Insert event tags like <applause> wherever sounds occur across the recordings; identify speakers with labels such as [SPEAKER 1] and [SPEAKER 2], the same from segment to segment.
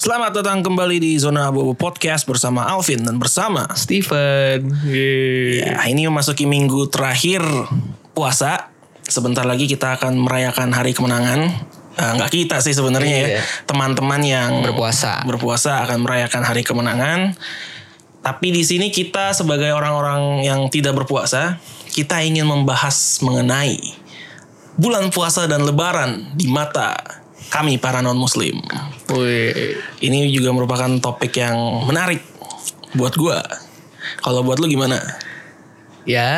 [SPEAKER 1] Selamat datang kembali di Zona Abu-Abu Podcast bersama Alvin dan bersama
[SPEAKER 2] Steven. Yeay.
[SPEAKER 1] Ya, ini memasuki minggu terakhir puasa. Sebentar lagi kita akan merayakan hari kemenangan. Eh, Nggak kita sih sebenarnya ya.
[SPEAKER 2] Iya.
[SPEAKER 1] Teman-teman yang
[SPEAKER 2] Berpuasa.
[SPEAKER 1] berpuasa akan merayakan hari kemenangan. Tapi di sini kita sebagai orang-orang yang tidak berpuasa, kita ingin membahas mengenai bulan puasa dan lebaran di mata kami para non-muslim.
[SPEAKER 2] Wih.
[SPEAKER 1] Ini juga merupakan topik yang menarik buat gua. Kalau buat lu gimana?
[SPEAKER 2] Ya,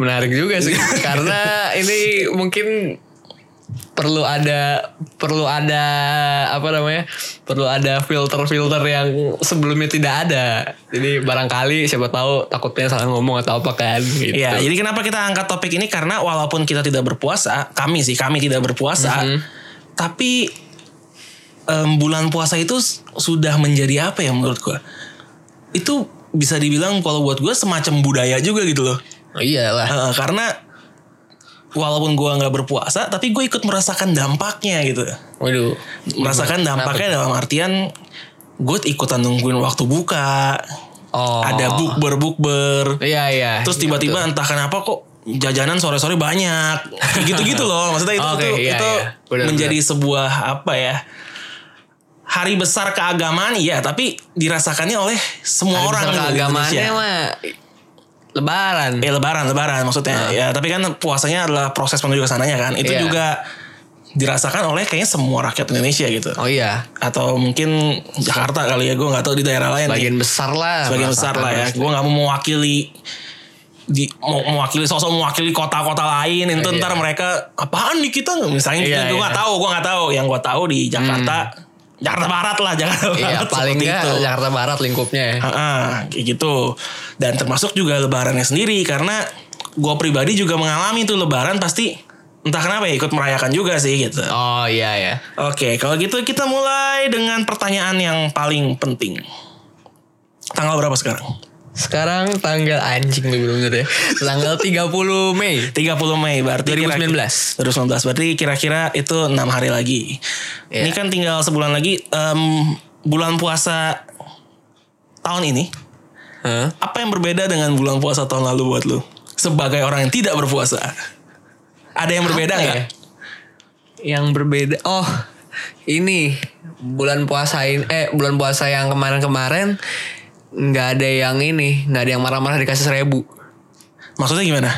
[SPEAKER 2] menarik juga
[SPEAKER 1] <laughs>
[SPEAKER 2] sih karena ini mungkin perlu ada perlu ada apa namanya? Perlu ada filter-filter yang sebelumnya tidak ada. Jadi barangkali siapa tahu takutnya salah ngomong atau apa kan gitu.
[SPEAKER 1] Iya, jadi kenapa kita angkat topik ini karena walaupun kita tidak berpuasa, kami sih kami tidak berpuasa, tapi em, bulan puasa itu s- sudah menjadi apa ya menurut gua? Itu bisa dibilang kalau buat gua semacam budaya juga gitu loh,
[SPEAKER 2] Oh, iyalah.
[SPEAKER 1] Eh, karena walaupun gua nggak berpuasa, tapi gue ikut merasakan dampaknya gitu.
[SPEAKER 2] Waduh.
[SPEAKER 1] merasakan
[SPEAKER 2] Iya,
[SPEAKER 1] dampaknya dalam artian gue ikutan nungguin waktu buka
[SPEAKER 2] Oh.
[SPEAKER 1] ada bukber bukber
[SPEAKER 2] Iya, iya.
[SPEAKER 1] terus tiba-tiba entah kenapa kok jajanan sore-sore banyak gitu-gitu loh maksudnya itu
[SPEAKER 2] <laughs> Oke,
[SPEAKER 1] itu,
[SPEAKER 2] iya,
[SPEAKER 1] itu
[SPEAKER 2] iya. Benar,
[SPEAKER 1] menjadi sebuah apa ya hari besar keagamaan iya tapi dirasakannya oleh semua
[SPEAKER 2] Hari
[SPEAKER 1] orang
[SPEAKER 2] besar
[SPEAKER 1] di
[SPEAKER 2] keagamaannya
[SPEAKER 1] Indonesia.
[SPEAKER 2] mah lebaran.
[SPEAKER 1] Eh lebaran, lebaran maksudnya. Ya, tapi kan puasanya adalah proses menuju ke sananya kan. Itu
[SPEAKER 2] Ah. Iya.
[SPEAKER 1] juga dirasakan oleh kayaknya semua rakyat Indonesia gitu.
[SPEAKER 2] Oh iya,
[SPEAKER 1] atau mungkin Jakarta kali ya gue nggak tahu di daerah lain nih.
[SPEAKER 2] bagian besar lah.
[SPEAKER 1] Sebagian besar lah ya gue nggak mau mewakili di mau mewakili sosok mewakili kota-kota lain itu
[SPEAKER 2] Iya.
[SPEAKER 1] ntar mereka apaan nih kita misalnya
[SPEAKER 2] Iya,
[SPEAKER 1] gue
[SPEAKER 2] iya.
[SPEAKER 1] nggak tahu gue nggak tahu yang gue tahu di Jakarta Jakarta Barat lah Jakarta
[SPEAKER 2] <laughs> Iya,
[SPEAKER 1] Barat
[SPEAKER 2] paling
[SPEAKER 1] seperti
[SPEAKER 2] enggak
[SPEAKER 1] itu.
[SPEAKER 2] Jakarta Barat lingkupnya ya.
[SPEAKER 1] Ah, kayak gitu. Dan termasuk juga lebarannya sendiri karena gue pribadi juga mengalami tuh lebaran pasti entah kenapa ya ikut merayakan juga sih gitu.
[SPEAKER 2] Oh iya ya.
[SPEAKER 1] Oke, kalau gitu kita mulai dengan pertanyaan yang paling penting. Tanggal berapa sekarang?
[SPEAKER 2] Sekarang tanggal anjing lu bener-bener ya. <laughs> Tanggal 30 Mei
[SPEAKER 1] 30 Mei berarti kira-
[SPEAKER 2] 2019.
[SPEAKER 1] 2019 berarti kira-kira itu enam hari lagi.
[SPEAKER 2] Iya.
[SPEAKER 1] Ini kan tinggal sebulan lagi em, bulan puasa tahun ini.
[SPEAKER 2] Hah?
[SPEAKER 1] Apa yang berbeda dengan bulan puasa tahun lalu buat lu? Sebagai orang yang tidak berpuasa. Ada yang berbeda
[SPEAKER 2] Apa
[SPEAKER 1] nggak?
[SPEAKER 2] ya? Yang berbeda. Oh, ini bulan puasa ini eh bulan puasa yang kemarin-kemarin nggak ada yang ini, nggak ada yang marah-marah dikasih seribu.
[SPEAKER 1] Maksudnya gimana?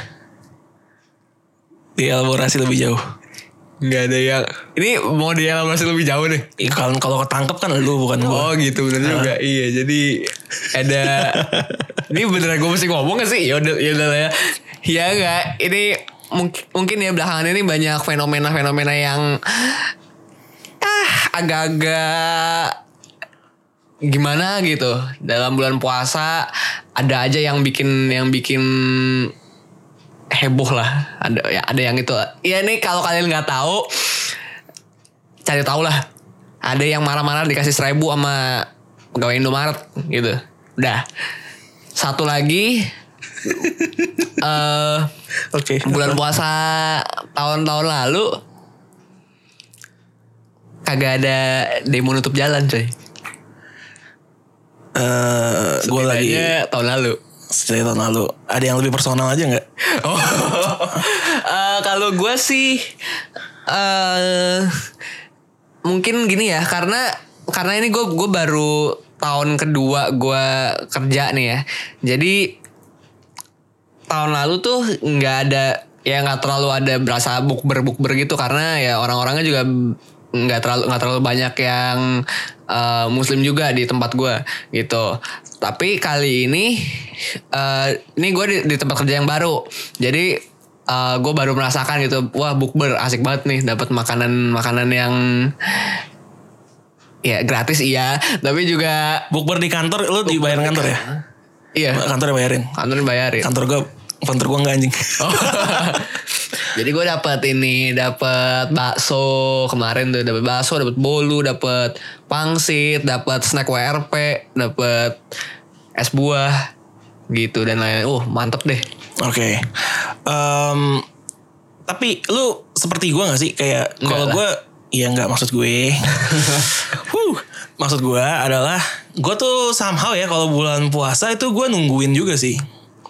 [SPEAKER 1] Dielaborasi lebih jauh.
[SPEAKER 2] Nggak ada yang ini mau dielaborasi lebih jauh deh.
[SPEAKER 1] Ih, Kalau kalau ketangkep kan lu bukan gua.
[SPEAKER 2] Oh gitu bener juga Iya jadi Ada Ini beneran gue mesti ngomong gak sih Yaudah, yaudah lah ya Ya enggak Ini mungkin, mungkin ya belakangan ini banyak fenomena-fenomena yang ah agak-agak gimana gitu dalam bulan puasa ada aja yang bikin yang bikin heboh lah ada ya ada yang itu ya ini kalau kalian nggak tahu cari tahu lah ada yang marah-marah dikasih seribu sama pegawai Indomaret gitu udah satu lagi eh
[SPEAKER 1] Oke.
[SPEAKER 2] bulan puasa tahun-tahun lalu kagak ada demo nutup jalan coy
[SPEAKER 1] eh gue lagi
[SPEAKER 2] Kayaknya tahun lalu <laughs>
[SPEAKER 1] setiap tahun lalu ada yang lebih personal aja nggak?
[SPEAKER 2] Oh, Eh, kalau gue sih eh mungkin gini ya karena karena ini gue gue baru tahun kedua gue kerja nih ya. Jadi tahun lalu tuh nggak ada ya nggak terlalu ada berasa bukber bukber gitu karena ya orang-orangnya juga nggak terlalu nggak terlalu banyak yang eh, muslim juga di tempat gue gitu tapi kali ini eh, ini gue di, di tempat kerja yang baru jadi gue baru merasakan gitu wah bukber asik banget nih dapat makanan makanan yang ya gratis iya tapi juga
[SPEAKER 1] Bukber di kantor lu dibayar kantor ya?
[SPEAKER 2] iya
[SPEAKER 1] Kantor bayarin.
[SPEAKER 2] kantor bayarin
[SPEAKER 1] Kantor gue kantor gue nggak anjing. <laughs>
[SPEAKER 2] Oh. <laughs> Jadi gue dapet ini, dapet bakso kemarin tuh, dapet bakso, dapet bolu, dapet pangsit, dapet snack WRP, dapet es buah gitu dan lain-lain. Uh, mantep deh.
[SPEAKER 1] Oke. Em, tapi lu seperti gue nggak sih kayak kalau
[SPEAKER 2] lah.
[SPEAKER 1] <laughs> gue Iya nggak maksud gue. Huh, maksud gue adalah gue tuh somehow ya kalau bulan puasa itu gue nungguin juga sih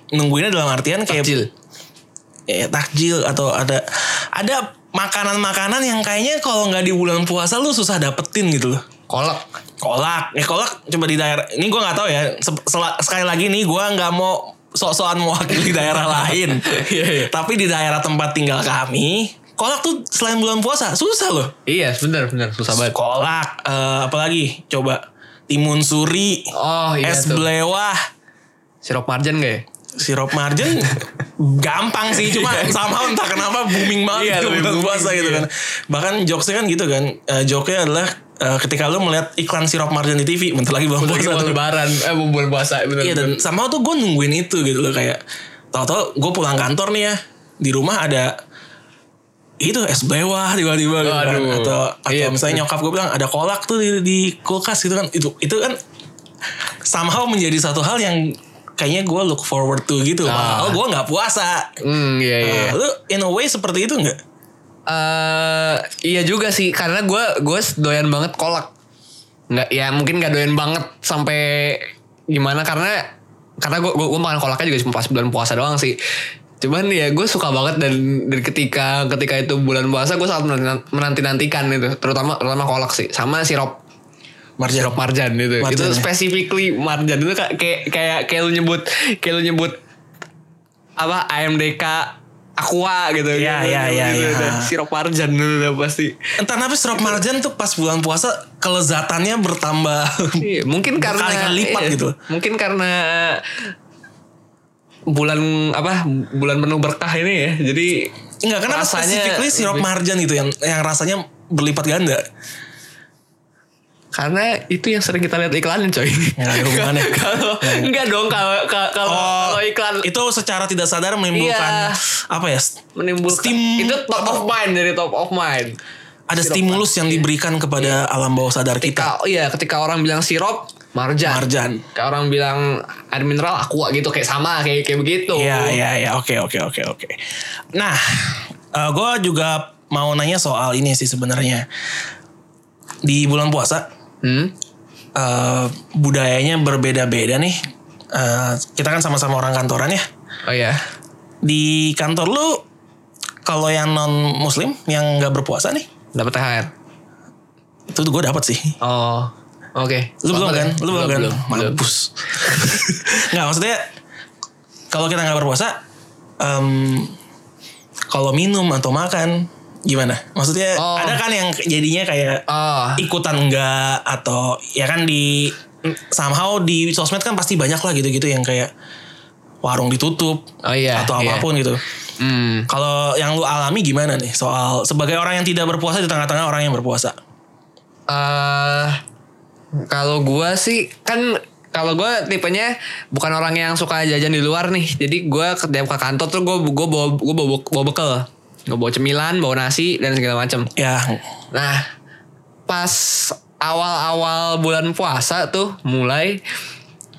[SPEAKER 1] nungguinnya dalam artian kayak
[SPEAKER 2] Kecil.
[SPEAKER 1] ya, takjil atau ada ada makanan-makanan yang kayaknya kalau nggak di bulan puasa lu susah dapetin gitu loh
[SPEAKER 2] Kolak.
[SPEAKER 1] kolak ya kolak coba di daerah ini gue nggak tahu ya Se- sel- sekali lagi nih gue nggak mau sok-sokan mewakili daerah <laughs> lain
[SPEAKER 2] Iya, iya.
[SPEAKER 1] tapi di daerah tempat tinggal kami kolak tuh selain bulan puasa susah loh
[SPEAKER 2] Iya, bener bener susah banget.
[SPEAKER 1] kolak eh, apalagi coba timun suri
[SPEAKER 2] Oh iya
[SPEAKER 1] es
[SPEAKER 2] tuh.
[SPEAKER 1] belewah
[SPEAKER 2] Sirup marjan gak ya?
[SPEAKER 1] sirup margin gampang sih cuma sama entah kenapa booming
[SPEAKER 2] Iya,
[SPEAKER 1] banget gitu
[SPEAKER 2] lebih
[SPEAKER 1] bulan
[SPEAKER 2] booming,
[SPEAKER 1] puasa gitu
[SPEAKER 2] iya.
[SPEAKER 1] kan bahkan jokesnya kan gitu kan Eh, jokesnya adalah eh, ketika lu melihat iklan sirup margin di TV bentar lagi bulan
[SPEAKER 2] Untuk
[SPEAKER 1] puasa
[SPEAKER 2] mau
[SPEAKER 1] tuh.
[SPEAKER 2] lebaran, eh mau bulan puasa bener.
[SPEAKER 1] Iya dan sama tuh gue nungguin itu gitu loh kayak tau-tau gue pulang kantor nih ya di rumah ada itu es belewah tiba-tiba gitu kan.
[SPEAKER 2] Aduh.
[SPEAKER 1] atau atau
[SPEAKER 2] Iya.
[SPEAKER 1] misalnya nyokap gue bilang ada kolak tuh di, di kulkas gitu kan itu itu kan somehow menjadi satu hal yang kayaknya gue look forward to gitu loh.
[SPEAKER 2] Ah.
[SPEAKER 1] padahal gue nggak puasa
[SPEAKER 2] Hmm, iya iya.
[SPEAKER 1] Nah, lu in a way seperti itu nggak
[SPEAKER 2] Eh, iya juga sih karena gue gue doyan banget kolak. Nggak ya mungkin nggak doyan banget sampai gimana karena karena gue gue makan kolaknya juga cuma pas bulan puasa doang sih. Cuman ya gue suka banget dan, dan ketika ketika itu bulan puasa gue sangat menanti nantikan itu terutama terutama kolak sih sama sirup
[SPEAKER 1] Marjan
[SPEAKER 2] sirup marjan itu
[SPEAKER 1] Marjan,
[SPEAKER 2] itu
[SPEAKER 1] ya.
[SPEAKER 2] specifically marjan itu ka- kayak kayak kayak lu nyebut kayak lu nyebut apa AMDK Aqua gitu
[SPEAKER 1] Iya,
[SPEAKER 2] gitu,
[SPEAKER 1] iya,
[SPEAKER 2] gitu,
[SPEAKER 1] iya,
[SPEAKER 2] gitu.
[SPEAKER 1] iya.
[SPEAKER 2] Dan sirup marjan dulu udah pasti
[SPEAKER 1] entah kenapa sirup marjan tuh pas bulan puasa kelezatannya bertambah <laughs>
[SPEAKER 2] Iya, mungkin karena
[SPEAKER 1] Hmm. Berkali-kali lipat
[SPEAKER 2] iya,
[SPEAKER 1] gitu.
[SPEAKER 2] mungkin karena eh, bulan apa bulan penuh berkah ini ya jadi
[SPEAKER 1] Enggak, kenapa
[SPEAKER 2] Rasanya
[SPEAKER 1] specifically sirup
[SPEAKER 2] lebih-
[SPEAKER 1] marjan gitu yang yang rasanya berlipat ganda?
[SPEAKER 2] karena itu yang sering kita lihat iklannya coy
[SPEAKER 1] Nggak Ya, ada hubungannya. Ya.
[SPEAKER 2] <laughs>
[SPEAKER 1] Oh,
[SPEAKER 2] kalau enggak dong kalau kalau- kalau iklan
[SPEAKER 1] itu secara tidak sadar menimbulkan
[SPEAKER 2] Iya.
[SPEAKER 1] apa ya? st-
[SPEAKER 2] menimbulkan
[SPEAKER 1] Stim-
[SPEAKER 2] itu top of mind dari top of mind.
[SPEAKER 1] Ada stimulus yang diberikan kepada alam bawah sadar kita.
[SPEAKER 2] Iya. Ketika iya ketika orang bilang sirup marjan.
[SPEAKER 1] Marjan.
[SPEAKER 2] Ketika orang bilang air mineral aqua gitu kayak sama kayak kayak begitu.
[SPEAKER 1] Iya, iya, iya. Oke, oke, oke, oke. Nah, gue juga mau nanya soal ini sih sebenarnya. Di bulan puasa,
[SPEAKER 2] Hmm?
[SPEAKER 1] eh, budayanya berbeda-beda nih. Eh, kita kan sama-sama orang kantoran ya.
[SPEAKER 2] Oh iya.
[SPEAKER 1] Di kantor lu, kalau yang non Muslim, yang nggak berpuasa nih,
[SPEAKER 2] Dapat THR.
[SPEAKER 1] itu gue dapat sih.
[SPEAKER 2] Oh. Oke.
[SPEAKER 1] Lu belum
[SPEAKER 2] Selamat
[SPEAKER 1] kan?
[SPEAKER 2] ya.
[SPEAKER 1] Lu belum kan?
[SPEAKER 2] Belum.
[SPEAKER 1] Mampus. <laughs> Enggak maksudnya kalau kita nggak berpuasa em, kalau minum atau makan gimana? Maksudnya
[SPEAKER 2] Oh.
[SPEAKER 1] ada kan yang jadinya kayak
[SPEAKER 2] Oh.
[SPEAKER 1] ikutan enggak atau ya kan di somehow di sosmed kan pasti banyak lah gitu-gitu yang kayak warung ditutup
[SPEAKER 2] Oh iya.
[SPEAKER 1] atau
[SPEAKER 2] iya.
[SPEAKER 1] apapun gitu.
[SPEAKER 2] Hmm.
[SPEAKER 1] Kalau yang lu alami gimana nih soal sebagai orang yang tidak berpuasa di tengah-tengah orang yang berpuasa?
[SPEAKER 2] eh kalau gua sih kan kalau gua tipenya bukan orang yang suka jajan di luar nih. Jadi gua setiap ke kantor tuh gua gua bawa gua bawa, bawa bekal. Gua bawa cemilan, bawa nasi dan segala macam.
[SPEAKER 1] Ya,
[SPEAKER 2] Nah, pas awal-awal bulan puasa tuh mulai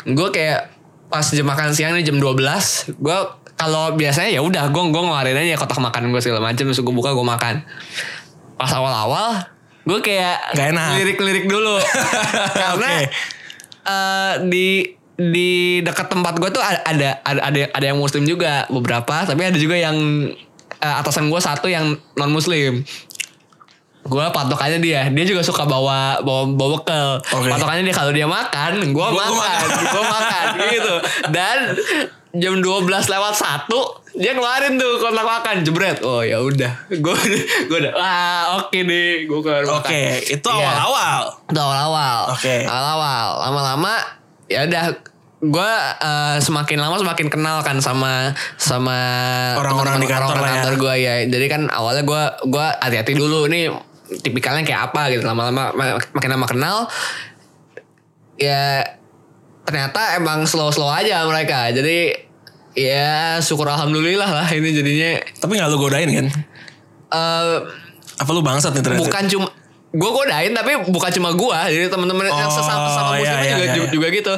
[SPEAKER 2] gue kayak pas jam makan siang nih jam 12 gue kalau biasanya ya udah gue gue ngeluarin aja kotak makan gue segala macam terus gue buka gue makan pas awal-awal gue kayak
[SPEAKER 1] Nggak enak.
[SPEAKER 2] lirik-lirik
[SPEAKER 1] <laughs>
[SPEAKER 2] dulu karena
[SPEAKER 1] Oke.
[SPEAKER 2] eh, di di dekat tempat gue tuh ada ada ada ada ada yang muslim juga beberapa tapi ada juga yang eh, atasan gue satu yang non muslim gue patokannya dia dia juga suka bawa bawa bawa bekal
[SPEAKER 1] Oke.
[SPEAKER 2] patokannya dia kalau dia makan gue
[SPEAKER 1] Gua- gua
[SPEAKER 2] makan <laughs>
[SPEAKER 1] makan.
[SPEAKER 2] gue makan gitu dan jam 12 lewat satu dia ngeluarin tuh kontak makan jebret oh ya udah gue gue udah ah oke deh gue keluar makan
[SPEAKER 1] oke, itu
[SPEAKER 2] Iya.
[SPEAKER 1] awal-awal.
[SPEAKER 2] Itu awal-awal.
[SPEAKER 1] Oke.
[SPEAKER 2] Awal-awal. Lama-lama ya udah gue semakin lama semakin kenal kan sama sama
[SPEAKER 1] Orang-orang di kantor lah ya.
[SPEAKER 2] gue ya. Jadi kan awalnya gue gue hati-hati dulu ini tipikalnya kayak apa gitu. Lama-lama mak- makin lama kenal ya ternyata emang slow-slow aja mereka. Jadi ya syukur alhamdulillah lah ini jadinya
[SPEAKER 1] Tapi nggak lu godain kan?
[SPEAKER 2] eh
[SPEAKER 1] Apa lu bangsat nih ternyata?
[SPEAKER 2] bukan cuma gue godain tapi bukan cuma gue jadi teman-teman yang
[SPEAKER 1] Oh,
[SPEAKER 2] sesama sesama
[SPEAKER 1] iya,
[SPEAKER 2] muslimnya
[SPEAKER 1] iya,
[SPEAKER 2] juga
[SPEAKER 1] iya, iya.
[SPEAKER 2] juga gitu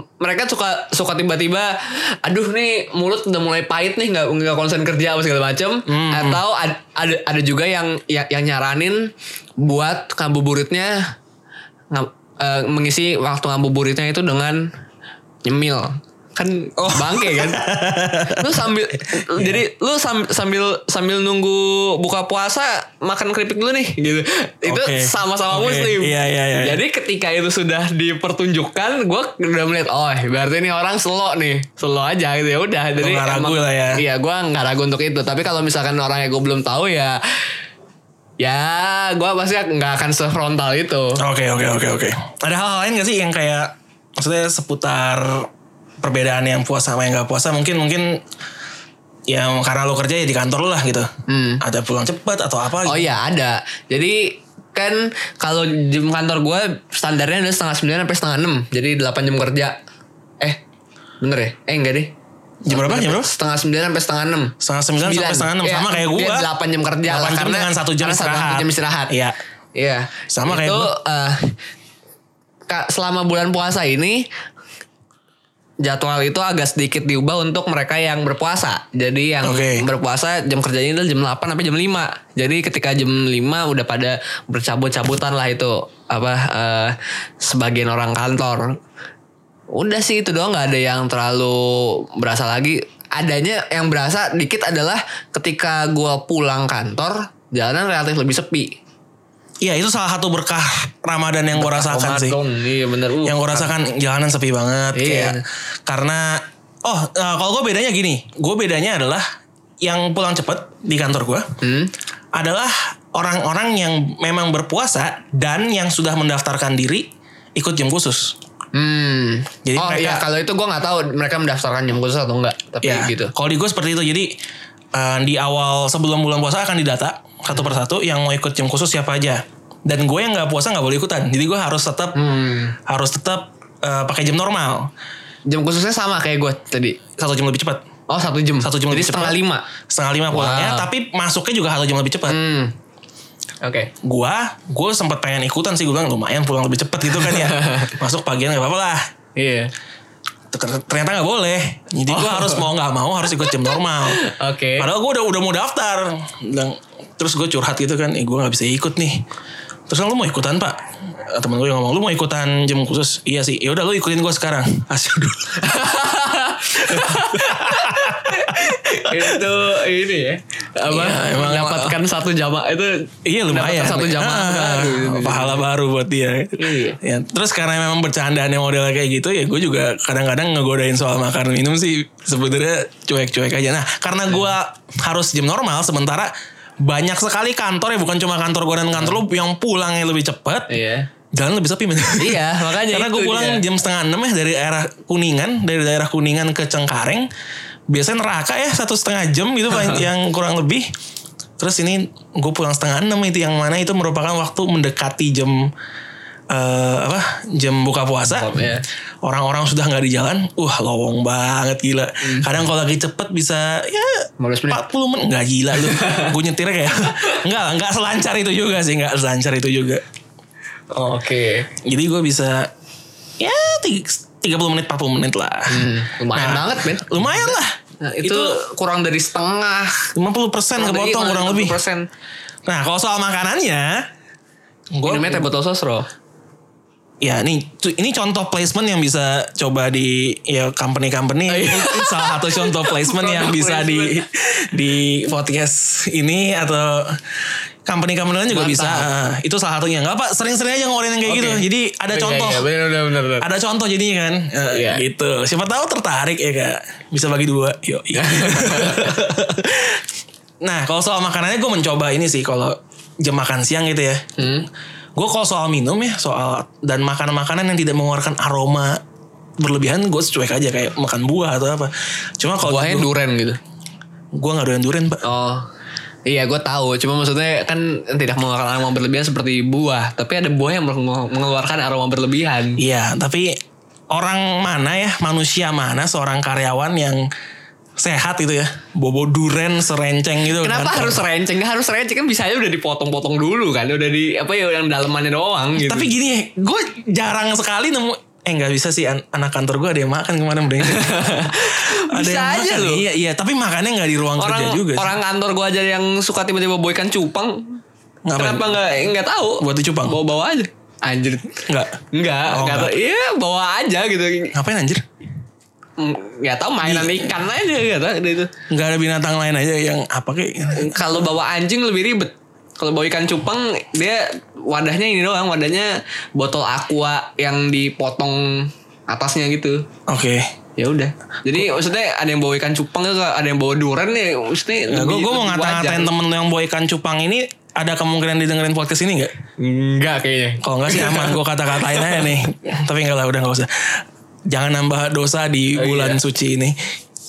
[SPEAKER 2] M- mereka suka suka tiba-tiba aduh nih mulut udah mulai pahit nih nggak nggak konsen kerja apa segala macem
[SPEAKER 1] Hmm,
[SPEAKER 2] atau ad- ada ya, ada juga yang yang, yang nyaranin buat ngabuburitnya ngab- eh, eh, mengisi waktu ngabuburitnya itu dengan nyemil kan
[SPEAKER 1] Oh.
[SPEAKER 2] bangke kan lu
[SPEAKER 1] <laughs>
[SPEAKER 2] sambil jadi lu sam- sambil sambil nunggu buka puasa makan keripik dulu nih gitu itu
[SPEAKER 1] Oke.
[SPEAKER 2] sama-sama
[SPEAKER 1] Oke,
[SPEAKER 2] muslim
[SPEAKER 1] iya, iya, iya.
[SPEAKER 2] jadi ketika itu sudah dipertunjukkan gue udah melihat oh berarti ini orang selo nih selo aja gitu ya udah jadi
[SPEAKER 1] nggak ragu
[SPEAKER 2] emang-
[SPEAKER 1] lah ya.
[SPEAKER 2] iya gue nggak ragu untuk itu tapi kalau misalkan orangnya gue belum tahu ya ya gue pasti nggak akan sefrontal itu
[SPEAKER 1] Oke oke oke oke. Ada hal lain gak sih yang kayak maksudnya seputar perbedaan yang puasa sama yang gak puasa mungkin mungkin ya karena lo kerja ya di kantor lo lah gitu.
[SPEAKER 2] Hmm.
[SPEAKER 1] Ada pulang cepat atau apa?
[SPEAKER 2] Oh
[SPEAKER 1] gitu.
[SPEAKER 2] iya ada. Jadi kan kalau jam kantor gue standarnya adalah setengah sembilan sampai setengah enam. Jadi delapan jam kerja. Eh bener ya? Eh enggak deh.
[SPEAKER 1] Jam berapa? Jam berapa?
[SPEAKER 2] Setengah sembilan sampai setengah enam.
[SPEAKER 1] Ya, Setengah sembilan sampai setengah enam
[SPEAKER 2] Iya,
[SPEAKER 1] sama kayak gue.
[SPEAKER 2] dia Delapan jam kerja. lah,
[SPEAKER 1] Delapan jam
[SPEAKER 2] karena-
[SPEAKER 1] dengan satu jam
[SPEAKER 2] karena
[SPEAKER 1] istirahat.
[SPEAKER 2] jam istirahat.
[SPEAKER 1] Iya.
[SPEAKER 2] Iya.
[SPEAKER 1] Sama kayak
[SPEAKER 2] Itu,
[SPEAKER 1] gua.
[SPEAKER 2] eh, Kak, selama bulan puasa ini jadwal itu agak sedikit diubah untuk mereka yang berpuasa. Jadi yang
[SPEAKER 1] Oke.
[SPEAKER 2] berpuasa jam kerjanya itu jam 8 sampai jam 5. Jadi ketika jam 5 udah pada bercabut-cabutan lah itu apa eh, sebagian orang kantor. Udah sih itu doang nggak ada yang terlalu berasa lagi. Adanya yang berasa dikit adalah ketika gua pulang kantor jalanan relatif lebih sepi.
[SPEAKER 1] Iya itu salah satu berkah Ramadan yang gue rasakan sih.
[SPEAKER 2] Ramadan, Iya bener. Uh,
[SPEAKER 1] yang gue rasakan jalanan sepi banget
[SPEAKER 2] Iya.
[SPEAKER 1] kayak karena oh eh, kalau gue bedanya gini gue bedanya adalah yang pulang cepet di kantor gue
[SPEAKER 2] Hmm.
[SPEAKER 1] adalah orang-orang yang memang berpuasa dan yang sudah mendaftarkan diri ikut jam khusus
[SPEAKER 2] Hmm.
[SPEAKER 1] Jadi
[SPEAKER 2] oh
[SPEAKER 1] mereka-
[SPEAKER 2] iya kalau itu gua nggak tahu mereka mendaftarkan jam khusus atau enggak, tapi
[SPEAKER 1] ya
[SPEAKER 2] gitu.
[SPEAKER 1] kalau di gue seperti itu jadi eh, di awal sebelum bulan puasa akan didata satu persatu yang mau ikut jam khusus siapa aja dan gue yang nggak puasa nggak boleh ikutan jadi gue harus tetap
[SPEAKER 2] Hmm.
[SPEAKER 1] harus tetap eh, pakai jam normal
[SPEAKER 2] Jam khususnya sama kayak gua tadi.
[SPEAKER 1] satu jam lebih cepat
[SPEAKER 2] Oh satu jam.
[SPEAKER 1] Satu jam
[SPEAKER 2] Jadi
[SPEAKER 1] lebih
[SPEAKER 2] setengah
[SPEAKER 1] cepat.
[SPEAKER 2] lima.
[SPEAKER 1] setengah lima pulangnya
[SPEAKER 2] Wow.
[SPEAKER 1] tapi masuknya juga satu jam lebih cepat
[SPEAKER 2] Hmm. Oke.
[SPEAKER 1] gua gua sempat pengen ikutan sih gua bilang lumayan pulang lebih cepat gitu kan
[SPEAKER 2] <laughs>
[SPEAKER 1] ya masuk pagian gak apa-apa lah
[SPEAKER 2] Iya.
[SPEAKER 1] Ter- ternyata nggak boleh jadi gua harus mau nggak mau harus ikut jam normal
[SPEAKER 2] Oh. Oke.
[SPEAKER 1] padahal gua udah udah mau daftar Bilang- terus gua curhat gitu kan eh, gua nggak bisa ikut nih terus lu mau ikutan pak Eh, temen gue yang ngomong lu mau ikutan jam khusus iya sih ya udah lu ikutin gua sekarang <laughs> asik dulu
[SPEAKER 2] <laughs> itu ini ya. Apa?
[SPEAKER 1] Iya, emang-
[SPEAKER 2] mendapatkan satu jamaah itu
[SPEAKER 1] Iya lumayan.
[SPEAKER 2] mendapatkan satu <laughs> jamaah.
[SPEAKER 1] Ah,
[SPEAKER 2] baru gitu.
[SPEAKER 1] pahala baru buat dia.
[SPEAKER 2] Iya.
[SPEAKER 1] Ya, terus karena memang bercandaannya modelnya kayak gitu ya gue juga kadang-kadang ngegodain soal makan minum sih sebenarnya cuek-cuek aja. Nah
[SPEAKER 2] Iya.
[SPEAKER 1] karena gue harus jam normal sementara banyak sekali kantor ya bukan cuma kantor gue dan kantor lu yang pulangnya lebih cepat
[SPEAKER 2] Iya.
[SPEAKER 1] jalan lebih sepi men.
[SPEAKER 2] Iya, makanya
[SPEAKER 1] Karena
[SPEAKER 2] itu
[SPEAKER 1] gue pulang
[SPEAKER 2] dia.
[SPEAKER 1] jam setengah enam ya dari daerah Kuningan, dari daerah Kuningan ke Cengkareng. Biasanya neraka ya satu setengah jam gitu
[SPEAKER 2] <laughs>
[SPEAKER 1] paling- yang kurang lebih. Terus ini gue pulang setengah enam itu yang mana itu merupakan waktu mendekati jam eh, apa jam buka puasa.
[SPEAKER 2] Buka, iya.
[SPEAKER 1] Orang-orang sudah nggak di jalan, wah lowong banget gila.
[SPEAKER 2] Hmm.
[SPEAKER 1] Kadang kalau lagi cepet bisa ya
[SPEAKER 2] 15 menit.
[SPEAKER 1] 40 menit nggak gila
[SPEAKER 2] <laughs>
[SPEAKER 1] lu. gue nyetirnya kayak nggak nggak selancar itu juga sih, nggak selancar itu juga.
[SPEAKER 2] Oke.
[SPEAKER 1] Jadi gue bisa ya ti- 30 menit 40 menit lah.
[SPEAKER 2] Hmm, Lumayan
[SPEAKER 1] Nah,
[SPEAKER 2] banget, Ben.
[SPEAKER 1] Lumayan lah.
[SPEAKER 2] Nah, itu, Kan
[SPEAKER 1] itu,
[SPEAKER 2] kurang dari setengah.
[SPEAKER 1] 50% kepotong kurang lebih.
[SPEAKER 2] Persen.
[SPEAKER 1] Nah, kalau soal makanannya gua
[SPEAKER 2] Minumnya teh botol sosro.
[SPEAKER 1] ya ini ini contoh placement yang bisa coba di ya company-company
[SPEAKER 2] Oh, iya.
[SPEAKER 1] Ini salah satu contoh placement yang
[SPEAKER 2] Product
[SPEAKER 1] bisa di di podcast ini atau company-company lain juga
[SPEAKER 2] Mantap.
[SPEAKER 1] bisa. Ah, itu salah satunya. Enggak apa, sering-sering aja ngeluarin yang kayak
[SPEAKER 2] Oke.
[SPEAKER 1] gitu. Jadi ada
[SPEAKER 2] Iya,
[SPEAKER 1] contoh.
[SPEAKER 2] Iya, benar benar benar. benar.
[SPEAKER 1] ada contoh jadinya kan Eh,
[SPEAKER 2] Iya.
[SPEAKER 1] gitu siapa tahu tertarik ya kak bisa bagi dua
[SPEAKER 2] <laughs>
[SPEAKER 1] yo nah kalau soal makanannya gue mencoba ini sih kalau jam makan siang gitu ya
[SPEAKER 2] Hmm.
[SPEAKER 1] gue kalau soal minum ya soal dan makanan makanan yang tidak mengeluarkan aroma berlebihan gue cuek aja kayak makan buah atau apa cuma kalau
[SPEAKER 2] Buahnya
[SPEAKER 1] gue
[SPEAKER 2] duren gitu.
[SPEAKER 1] gue nggak doyan durian pak
[SPEAKER 2] Oh. Iya gue tahu, cuma maksudnya kan tidak mengeluarkan aroma berlebihan seperti buah, tapi ada buah yang menge- mengeluarkan aroma berlebihan.
[SPEAKER 1] Iya, tapi orang mana ya, manusia mana seorang karyawan yang sehat gitu ya, bobo duren serenceng gitu.
[SPEAKER 2] Kenapa
[SPEAKER 1] kan?
[SPEAKER 2] harus renceng? Gak harus renceng kan bisa aja udah dipotong-potong dulu kan, udah di apa ya yang dalemannya doang gitu.
[SPEAKER 1] Tapi gini ya, gue jarang sekali nemu eh nggak bisa sih an- anak kantor gue ada yang makan kemarin
[SPEAKER 2] <laughs>
[SPEAKER 1] berarti. ada
[SPEAKER 2] Bisa aja
[SPEAKER 1] makan,
[SPEAKER 2] loh.
[SPEAKER 1] Iya, iya, tapi makannya nggak di ruang
[SPEAKER 2] orang
[SPEAKER 1] kerja juga. sih.
[SPEAKER 2] orang kantor gue aja yang suka tiba-tiba boykan cupang,
[SPEAKER 1] Ngapain?
[SPEAKER 2] kenapa nggak nggak tahu?
[SPEAKER 1] Buat dicupang?
[SPEAKER 2] Bawa-bawa aja. Anjir.
[SPEAKER 1] Enggak.
[SPEAKER 2] Enggak,
[SPEAKER 1] Oh,
[SPEAKER 2] enggak tahu. Iya, bawa aja gitu.
[SPEAKER 1] Ngapain anjir?
[SPEAKER 2] Enggak Mm, tahu mainan
[SPEAKER 1] Iya.
[SPEAKER 2] ikan aja enggak tahu deh itu.
[SPEAKER 1] Enggak ada binatang lain aja yang apa kayak
[SPEAKER 2] Kalau bawa anjing lebih ribet. Kalau bawa ikan cupang dia wadahnya ini doang, wadahnya botol aqua yang dipotong atasnya gitu.
[SPEAKER 1] Oke.
[SPEAKER 2] Ya udah. Jadi maksudnya ada yang bawa ikan cupang ada yang bawa duren ya maksudnya
[SPEAKER 1] Nah, gue gue mau
[SPEAKER 2] lebih- lebih wajar.
[SPEAKER 1] ngata-ngatain temen lu yang bawa ikan cupang ini ada kemungkinan didengerin podcast ini nggak?
[SPEAKER 2] Enggak kayaknya.
[SPEAKER 1] Kalau nggak sih aman gue kata-katain aja nih. Tapi enggak lah udah nggak usah. Jangan nambah dosa di
[SPEAKER 2] Oh,
[SPEAKER 1] bulan
[SPEAKER 2] iya.
[SPEAKER 1] suci ini.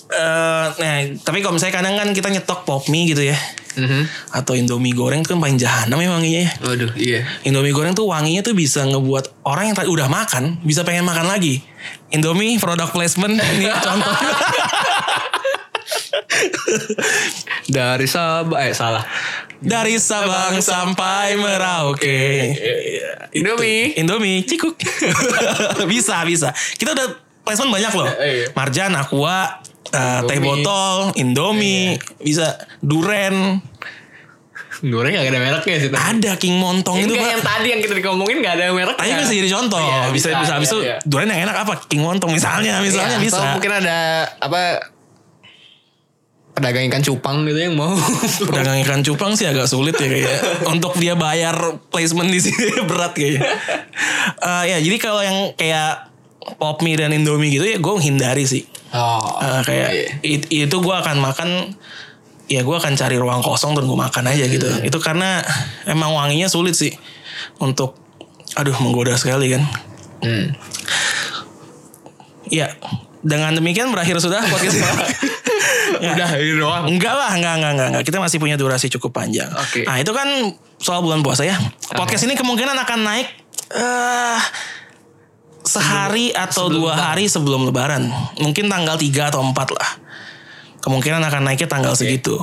[SPEAKER 1] Eh, nah, tapi kalau misalnya kadang kan kita nyetok pop mie gitu ya.
[SPEAKER 2] Mhm.
[SPEAKER 1] Atau indomie goreng itu kan paling jahanam ya wanginya ya.
[SPEAKER 2] Waduh, iya.
[SPEAKER 1] Indomie goreng tuh wanginya tuh bisa ngebuat orang yang tadi udah makan bisa pengen makan lagi. Indomie product placement ini contoh.
[SPEAKER 2] <laughs> Dari Sabah eh salah.
[SPEAKER 1] Dari Sabang sampai Merauke.
[SPEAKER 2] Indomie.
[SPEAKER 1] Indomie cikuk. <laughs> bisa bisa. Kita udah placement banyak loh.
[SPEAKER 2] Eh, iya.
[SPEAKER 1] Marjan, Aqua, eh, teh
[SPEAKER 2] Indomie. Iya,
[SPEAKER 1] botol, Indomie, bisa duren.
[SPEAKER 2] Goreng gak ada mereknya sih. tapi.
[SPEAKER 1] Ada King Montong itu,
[SPEAKER 2] Enggak
[SPEAKER 1] Pak.
[SPEAKER 2] yang tadi yang kita ngomongin gak ada mereknya.
[SPEAKER 1] Tapi bisa jadi contoh.
[SPEAKER 2] Iya,
[SPEAKER 1] bisa bisa habis
[SPEAKER 2] iya,
[SPEAKER 1] itu
[SPEAKER 2] iya.
[SPEAKER 1] duren yang enak apa? King Montong misalnya, misalnya
[SPEAKER 2] Iya,
[SPEAKER 1] bisa.
[SPEAKER 2] atau mungkin ada apa pedagang ikan cupang gitu
[SPEAKER 1] <laughs>
[SPEAKER 2] yang
[SPEAKER 1] Oh,
[SPEAKER 2] mau
[SPEAKER 1] Pedagang ikan cupang sih agak sulit ya
[SPEAKER 2] <laughs>
[SPEAKER 1] kayaknya. Untuk dia bayar placement di sini <laughs> berat kayaknya. Eh, ya jadi kalau yang kayak pop mie dan indomie gitu ya gue hindari sih.
[SPEAKER 2] oh
[SPEAKER 1] Eh, kayak
[SPEAKER 2] iya.
[SPEAKER 1] it- itu gue akan makan ya gue akan cari ruang kosong dan gue makan aja gitu. Itu karena emang wanginya sulit sih untuk aduh menggoda sekali kan.
[SPEAKER 2] Hmm.
[SPEAKER 1] Ya dengan demikian berakhir sudah podcast. Ya.
[SPEAKER 2] udah ini doang
[SPEAKER 1] Enggak lah, enggak, enggak, enggak, enggak. Kita masih punya durasi cukup panjang.
[SPEAKER 2] Oke.
[SPEAKER 1] Nah, itu kan soal bulan puasa ya. Podcast ini kemungkinan akan naik eh sehari atau dua hari sebelum lebaran. Mungkin tanggal 3 atau 4 lah. Kemungkinan akan naiknya tanggal segitu.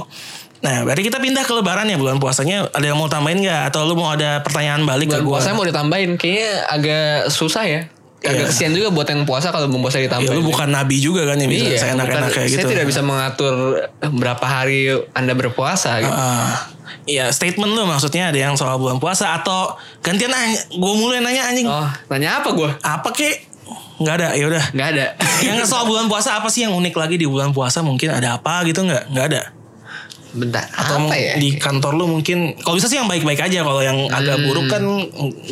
[SPEAKER 1] Nah, berarti kita pindah ke lebaran ya bulan puasanya. Ada yang mau tambahin nggak? Atau lu mau ada pertanyaan balik
[SPEAKER 2] bulan
[SPEAKER 1] ke gua? Ya,
[SPEAKER 2] puasa mau ditambahin kayaknya agak susah ya agak
[SPEAKER 1] Iya.
[SPEAKER 2] kesian juga buat yang puasa kalau mau puasa
[SPEAKER 1] Ya,
[SPEAKER 2] ditambahin
[SPEAKER 1] lu bukan nabi juga kan yang bisa
[SPEAKER 2] Iya,
[SPEAKER 1] saya enak-enak
[SPEAKER 2] bukan-
[SPEAKER 1] kayak gitu.
[SPEAKER 2] saya tidak bisa mengatur eh, berapa hari anda berpuasa gitu.
[SPEAKER 1] Ah, Iya statement lu maksudnya ada yang soal bulan puasa atau gantian gue mulai nanya anjing
[SPEAKER 2] oh nanya apa gue
[SPEAKER 1] apa kek nggak ada ya udah
[SPEAKER 2] nggak ada
[SPEAKER 1] yang soal bulan puasa apa sih yang unik lagi di bulan puasa mungkin ada apa gitu nggak nggak ada
[SPEAKER 2] bentar
[SPEAKER 1] atau
[SPEAKER 2] apa
[SPEAKER 1] mung-
[SPEAKER 2] ya
[SPEAKER 1] di kantor lu mungkin kalau bisa sih yang baik-baik aja kalau yang agak
[SPEAKER 2] Hmm.
[SPEAKER 1] buruk kan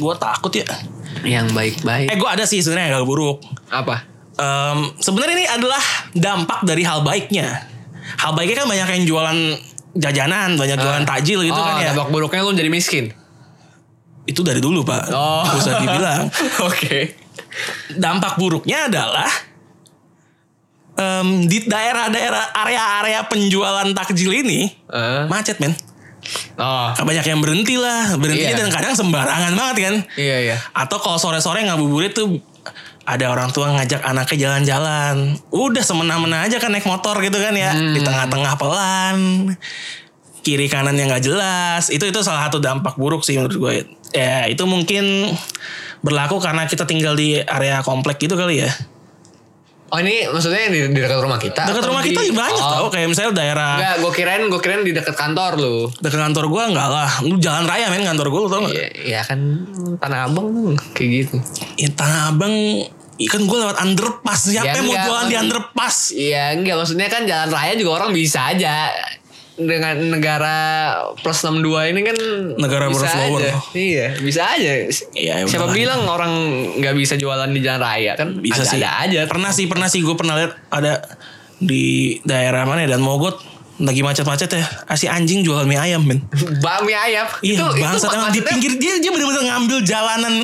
[SPEAKER 1] gue takut ya
[SPEAKER 2] yang baik-baik
[SPEAKER 1] eh gue ada sih sebenarnya yang agak buruk
[SPEAKER 2] apa
[SPEAKER 1] Em, sebenarnya ini adalah dampak dari hal baiknya hal baiknya kan banyak yang jualan jajanan banyak jualan takjil gitu
[SPEAKER 2] oh,
[SPEAKER 1] kan ya
[SPEAKER 2] dampak buruknya lu jadi miskin
[SPEAKER 1] itu dari dulu pak
[SPEAKER 2] Oh.
[SPEAKER 1] usah dibilang
[SPEAKER 2] <laughs> oke
[SPEAKER 1] dampak buruknya adalah em, di daerah-daerah area-area penjualan takjil ini
[SPEAKER 2] Eh,
[SPEAKER 1] macet men
[SPEAKER 2] oh
[SPEAKER 1] banyak yang berhenti lah berhentinya
[SPEAKER 2] Iya.
[SPEAKER 1] dan kadang sembarangan banget kan
[SPEAKER 2] iya iya
[SPEAKER 1] atau kalau sore-sore ngabuburit tuh ada orang tua ngajak anaknya jalan-jalan udah semena-mena aja kan naik motor gitu kan ya di tengah-tengah pelan kiri kanan yang nggak jelas itu itu salah satu dampak buruk sih menurut gue ya itu mungkin berlaku karena kita tinggal di area komplek gitu kali ya
[SPEAKER 2] Oh ini maksudnya di, di dekat rumah kita?
[SPEAKER 1] dekat
[SPEAKER 2] atau
[SPEAKER 1] rumah
[SPEAKER 2] di-
[SPEAKER 1] kita juga banyak
[SPEAKER 2] oh,
[SPEAKER 1] tau kayak misalnya daerah
[SPEAKER 2] Enggak, gue kirain, gue kirain di dekat kantor lu.
[SPEAKER 1] dekat kantor gue nggak lah lu jalan raya men kantor gue lu tau nggak
[SPEAKER 2] Iya, iya kan Tanah Abang kayak gitu.
[SPEAKER 1] ya, tanah abang Ikan gue lewat underpass
[SPEAKER 2] Ya,
[SPEAKER 1] Siapa yang mau
[SPEAKER 2] enggak,
[SPEAKER 1] jualan di
[SPEAKER 2] maksud-
[SPEAKER 1] underpass
[SPEAKER 2] Iya, enggak maksudnya kan jalan raya juga orang bisa aja. Dengan negara plus 62 ini kan
[SPEAKER 1] Negara
[SPEAKER 2] bisa
[SPEAKER 1] berflower.
[SPEAKER 2] aja. Iya, bisa aja.
[SPEAKER 1] Iya,
[SPEAKER 2] Siapa
[SPEAKER 1] beneran.
[SPEAKER 2] bilang orang nggak bisa jualan di jalan raya kan?
[SPEAKER 1] bisa
[SPEAKER 2] ada,
[SPEAKER 1] sih
[SPEAKER 2] Ada aja.
[SPEAKER 1] pernah sih pernah sih gue pernah lihat ada di daerah mana ya dan mogot lagi macet-macet ya Ah, si anjing jualan mie ayam men
[SPEAKER 2] Bakmi ayam.
[SPEAKER 1] iya bangsat emang di
[SPEAKER 2] maksudnya-
[SPEAKER 1] pinggir dia dia bener-bener ngambil jalanan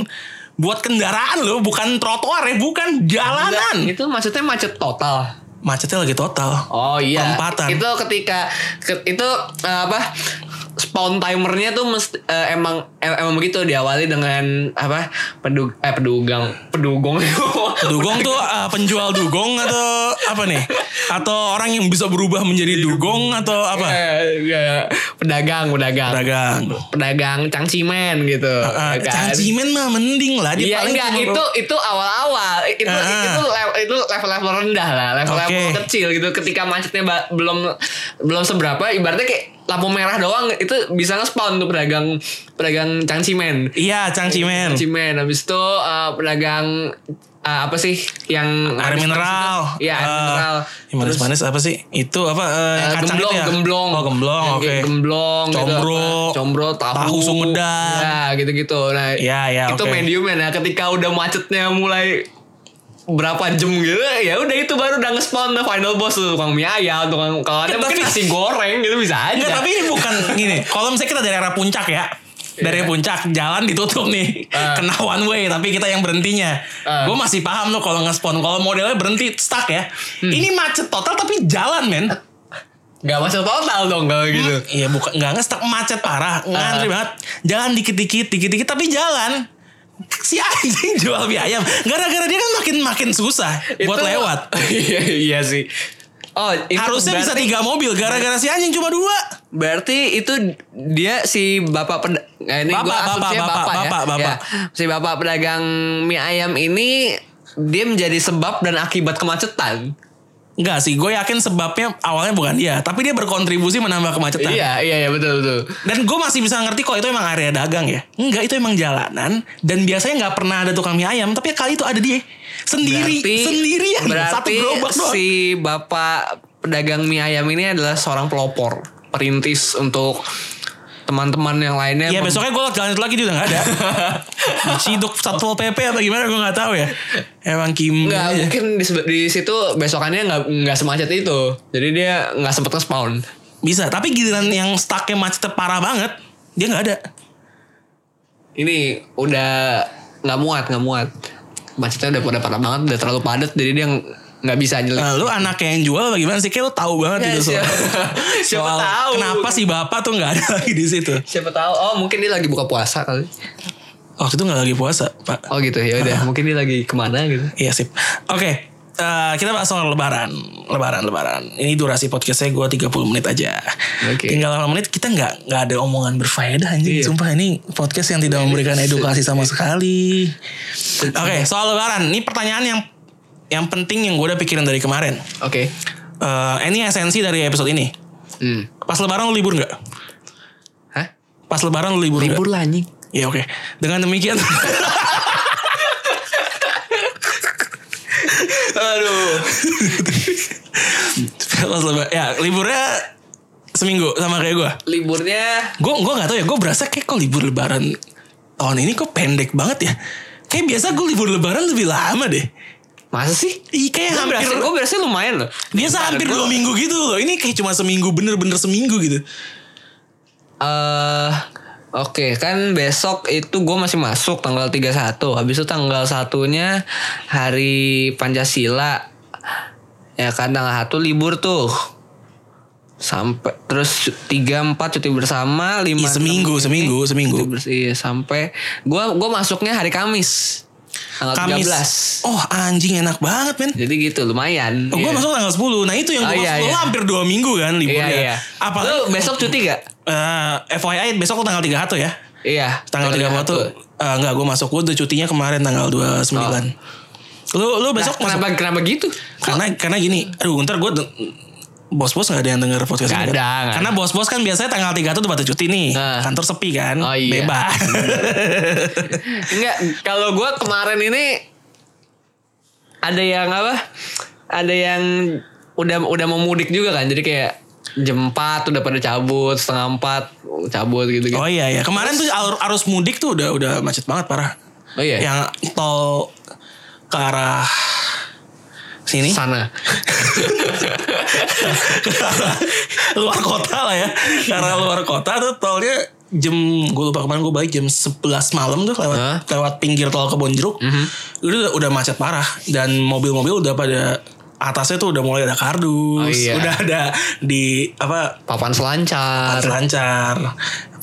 [SPEAKER 1] buat kendaraan loh bukan trotoar ya bukan jalanan
[SPEAKER 2] Itu maksudnya macet total.
[SPEAKER 1] macetnya lagi total
[SPEAKER 2] Oh iya.
[SPEAKER 1] Perempatan.
[SPEAKER 2] Itu ketika ke- itu eh, apa? Spawn timernya tuh mesti, eh, emang em- emang begitu diawali dengan apa? Pedug eh pedugang, pedugong. <laughs>
[SPEAKER 1] dugong tuh ah, penjual dugong atau apa nih atau orang yang bisa berubah
[SPEAKER 2] Iya.
[SPEAKER 1] menjadi dugong atau apa
[SPEAKER 2] Eh, eh, pedagang, pedagang.
[SPEAKER 1] dagang
[SPEAKER 2] Pedagang cangcimen gitu. ya kan?
[SPEAKER 1] Cacimen mah mending lah dia
[SPEAKER 2] Iya
[SPEAKER 1] paling
[SPEAKER 2] enggak
[SPEAKER 1] cuma-
[SPEAKER 2] itu itu awal-awal itu
[SPEAKER 1] Ah.
[SPEAKER 2] itu le- itu level-level rendah lah level-level
[SPEAKER 1] Oke.
[SPEAKER 2] kecil gitu ketika macetnya ba- belum belum seberapa ibaratnya kayak lampu merah doang itu bisa nge-spawn tuh pedagang pedagang cangcimen.
[SPEAKER 1] Iya, Cangcimen.
[SPEAKER 2] Cangcimen habis itu eh, pedagang eh, apa sih yang
[SPEAKER 1] Air mineral.
[SPEAKER 2] Iya, air
[SPEAKER 1] Eh,
[SPEAKER 2] mineral.
[SPEAKER 1] yang manis-manis apa sih? Itu apa? eh,
[SPEAKER 2] Eh,
[SPEAKER 1] kacang
[SPEAKER 2] gemblong,
[SPEAKER 1] itu ya?
[SPEAKER 2] gemblong. Iya,
[SPEAKER 1] Oh, gemblong.
[SPEAKER 2] Yang
[SPEAKER 1] Oke.
[SPEAKER 2] kayak Gemblong gitu.
[SPEAKER 1] Combro.
[SPEAKER 2] Nah, combro, tahu.
[SPEAKER 1] Tahu sumedang.
[SPEAKER 2] Ya, gitu-gitu. Nah,
[SPEAKER 1] Iya, iya,
[SPEAKER 2] itu
[SPEAKER 1] oke.
[SPEAKER 2] mediumnya. Nah, ketika udah macetnya mulai berapa jam gitu ya udah itu baru udah nge-spawn the final boss tuh tukang mie ayam tukang kalau
[SPEAKER 1] Iya,
[SPEAKER 2] ada
[SPEAKER 1] Tapi-
[SPEAKER 2] mungkin nasi goreng gitu bisa
[SPEAKER 1] Enggak,
[SPEAKER 2] aja
[SPEAKER 1] tapi ini bukan gini. Kalau misalnya kita dari arah puncak ya. Dari puncak jalan ditutup nih.
[SPEAKER 2] Iya. Ah.
[SPEAKER 1] Kena one way tapi kita yang berhentinya.
[SPEAKER 2] Ah.
[SPEAKER 1] Gue masih paham tuh kalau nge-spawn kalau modelnya berhenti stuck ya.
[SPEAKER 2] Hmm.
[SPEAKER 1] Ini macet total tapi jalan men.
[SPEAKER 2] nggak masuk total dong kalau gitu
[SPEAKER 1] Iya bukan nggak nge-stuck macet
[SPEAKER 2] Ah.
[SPEAKER 1] parah. Ngantri banget. Jalan dikit-dikit, dikit-dikit tapi jalan. Si anjing jual mie ayam. Gara-gara dia kan makin makin susah buat
[SPEAKER 2] Itu-
[SPEAKER 1] lewat.
[SPEAKER 2] <laughs> iya, iya sih oh itu
[SPEAKER 1] Harusnya bisa
[SPEAKER 2] berarti-
[SPEAKER 1] tiga mobil gara-gara si anjing cuma dua.
[SPEAKER 2] Berarti itu dia si bapak peda nah, ini
[SPEAKER 1] Bapak,
[SPEAKER 2] gua
[SPEAKER 1] bapak,
[SPEAKER 2] asumsinya
[SPEAKER 1] bapak,
[SPEAKER 2] bapak, ya.
[SPEAKER 1] bapak, bapak.
[SPEAKER 2] Ya, Si bapak pedagang mie ayam ini dia menjadi sebab dan akibat kemacetan.
[SPEAKER 1] Enggak sih, gue yakin sebabnya awalnya bukan dia, tapi dia berkontribusi menambah kemacetan.
[SPEAKER 2] Iya, iya, iya betul betul.
[SPEAKER 1] Dan gue masih bisa ngerti kok itu emang area dagang ya. Enggak, itu emang jalanan. Dan biasanya nggak pernah ada tukang mie ayam. Tapi kali itu ada dia. Sendiri. sendirian. Satu
[SPEAKER 2] berarti
[SPEAKER 1] gerobak doang.
[SPEAKER 2] si bapak pedagang mie ayam ini adalah seorang pelopor, perintis untuk teman-teman yang lainnya.
[SPEAKER 1] Ya
[SPEAKER 2] mem-
[SPEAKER 1] besoknya gue lanjut lagi dia udah
[SPEAKER 2] <laughs>
[SPEAKER 1] gak ada. Diciduk Satpol PP apa gimana gue gak tahu ya. Emang Kim.
[SPEAKER 2] Nggak,
[SPEAKER 1] aja.
[SPEAKER 2] mungkin di, sebe- di situ besokannya nggak nggak semacet itu. Jadi dia nggak sempet nge-spawn.
[SPEAKER 1] Bisa. Tapi giliran yang stucknya macetnya parah banget. Dia gak ada.
[SPEAKER 2] ini udah nggak muat nggak muat macetnya udah pada parah banget udah terlalu padat jadi dia ng- nggak bisa nyelip
[SPEAKER 1] Nah, lu anak yang jual bagaimana sih? Kayak lu tahu banget
[SPEAKER 2] Ya,
[SPEAKER 1] itu soal.
[SPEAKER 2] Gitu. siapa- <laughs> siapa
[SPEAKER 1] soal
[SPEAKER 2] tahu.
[SPEAKER 1] Kenapa si bapak tuh gak ada <laughs> lagi di situ?
[SPEAKER 2] siapa tahu oh mungkin dia lagi buka puasa kali
[SPEAKER 1] Waktu itu gak lagi puasa, Pak.
[SPEAKER 2] oh gitu ya udah mungkin dia lagi kemana gitu
[SPEAKER 1] Iya sip. Oke, eh, kita bahas soal lebaran, lebaran, lebaran. Ini durasi podcastnya gue 30 menit aja.
[SPEAKER 2] Oke.
[SPEAKER 1] Tinggal 8 menit kita nggak nggak ada omongan berfaedah anjing.
[SPEAKER 2] Iya.
[SPEAKER 1] Sumpah ini podcast yang tidak memberikan edukasi sama sekali.
[SPEAKER 2] Iya.
[SPEAKER 1] Oke, soal lebaran. Ini pertanyaan yang yang penting yang gue udah pikirin dari kemarin.
[SPEAKER 2] oke
[SPEAKER 1] Eh, ini esensi dari episode ini.
[SPEAKER 2] hmm.
[SPEAKER 1] Pas lebaran lu libur nggak?
[SPEAKER 2] hah
[SPEAKER 1] Pas lebaran lu libur nggak?
[SPEAKER 2] libur lah anjing
[SPEAKER 1] Ya oke. Dengan
[SPEAKER 2] <laughs>
[SPEAKER 1] demikian
[SPEAKER 2] aduh
[SPEAKER 1] pas lebaran ya liburnya seminggu sama kayak gue.
[SPEAKER 2] liburnya
[SPEAKER 1] gue gue nggak tahu ya gue berasa kayak kok libur lebaran tahun ini kok pendek banget ya kayak biasa gue libur lebaran lebih lama deh
[SPEAKER 2] masa sih
[SPEAKER 1] Ih, kayak
[SPEAKER 2] gue
[SPEAKER 1] hampir
[SPEAKER 2] berasa gue berasa lumayan loh
[SPEAKER 1] biasa hampir dua minggu gitu loh ini kayak cuma seminggu bener-bener seminggu gitu
[SPEAKER 2] eh Oke kan besok itu gue masih masuk tanggal 31 Habis itu tanggal satunya hari Pancasila Ya kan tanggal 1 libur tuh Sampai terus 3 4 cuti bersama 5
[SPEAKER 1] Ih, Iya, seminggu seminggu seminggu
[SPEAKER 2] Iya sampai gua gua masuknya hari Kamis tanggal
[SPEAKER 1] Kamis
[SPEAKER 2] 13.
[SPEAKER 1] oh anjing enak banget men
[SPEAKER 2] Jadi gitu lumayan.
[SPEAKER 1] Oh, gue
[SPEAKER 2] Iya.
[SPEAKER 1] masuk tanggal 10 Nah itu yang
[SPEAKER 2] Oh,
[SPEAKER 1] gue
[SPEAKER 2] iya,
[SPEAKER 1] maksud Lo
[SPEAKER 2] iya.
[SPEAKER 1] hampir 2 minggu kan
[SPEAKER 2] Iya
[SPEAKER 1] liburnya
[SPEAKER 2] iya.
[SPEAKER 1] Apalagi
[SPEAKER 2] Lu besok cuti gak?
[SPEAKER 1] eh, FYI besok lo tanggal 31 ya
[SPEAKER 2] Iya.
[SPEAKER 1] Tanggal 31 tuh Enggak gue masuk Gue udah cutinya kemarin tanggal 29 Lu, lu besok masuk
[SPEAKER 2] Oh. Kenapa kenapa gitu?
[SPEAKER 1] karena karena gini aduh ntar gue bos-bos nggak ada yang denger podcast
[SPEAKER 2] Nggak
[SPEAKER 1] ini kan?
[SPEAKER 2] ada, nggak
[SPEAKER 1] karena bos-bos kan biasanya tanggal 3 tuh udah pada cuti nih
[SPEAKER 2] Nah.
[SPEAKER 1] kantor sepi kan
[SPEAKER 2] Oh, iya. <laughs>
[SPEAKER 1] bebas
[SPEAKER 2] Enggak, kalau gue kemarin ini ada yang apa? Ada yang udah udah mau mudik juga kan. Jadi kayak jam 4 udah pada cabut, setengah 4 cabut gitu-gitu.
[SPEAKER 1] <laughs> oh iya ya kemarin tuh arus, arus mudik tuh udah udah macet banget parah
[SPEAKER 2] Oh iya.
[SPEAKER 1] yang tol ke arah sini
[SPEAKER 2] sana.
[SPEAKER 1] Ke arah luar kota lah ya ke arah luar kota tuh tolnya jam gue lupa kemarin gue balik jam 11 malam tuh lewat
[SPEAKER 2] Hah? Mhm.
[SPEAKER 1] lewat pinggir tol kebon jeruk itu udah, udah macet parah dan mobil-mobil udah pada atasnya tuh udah mulai ada kardus
[SPEAKER 2] Oh, iya.
[SPEAKER 1] udah ada di apa
[SPEAKER 2] Papan selancar.
[SPEAKER 1] selancar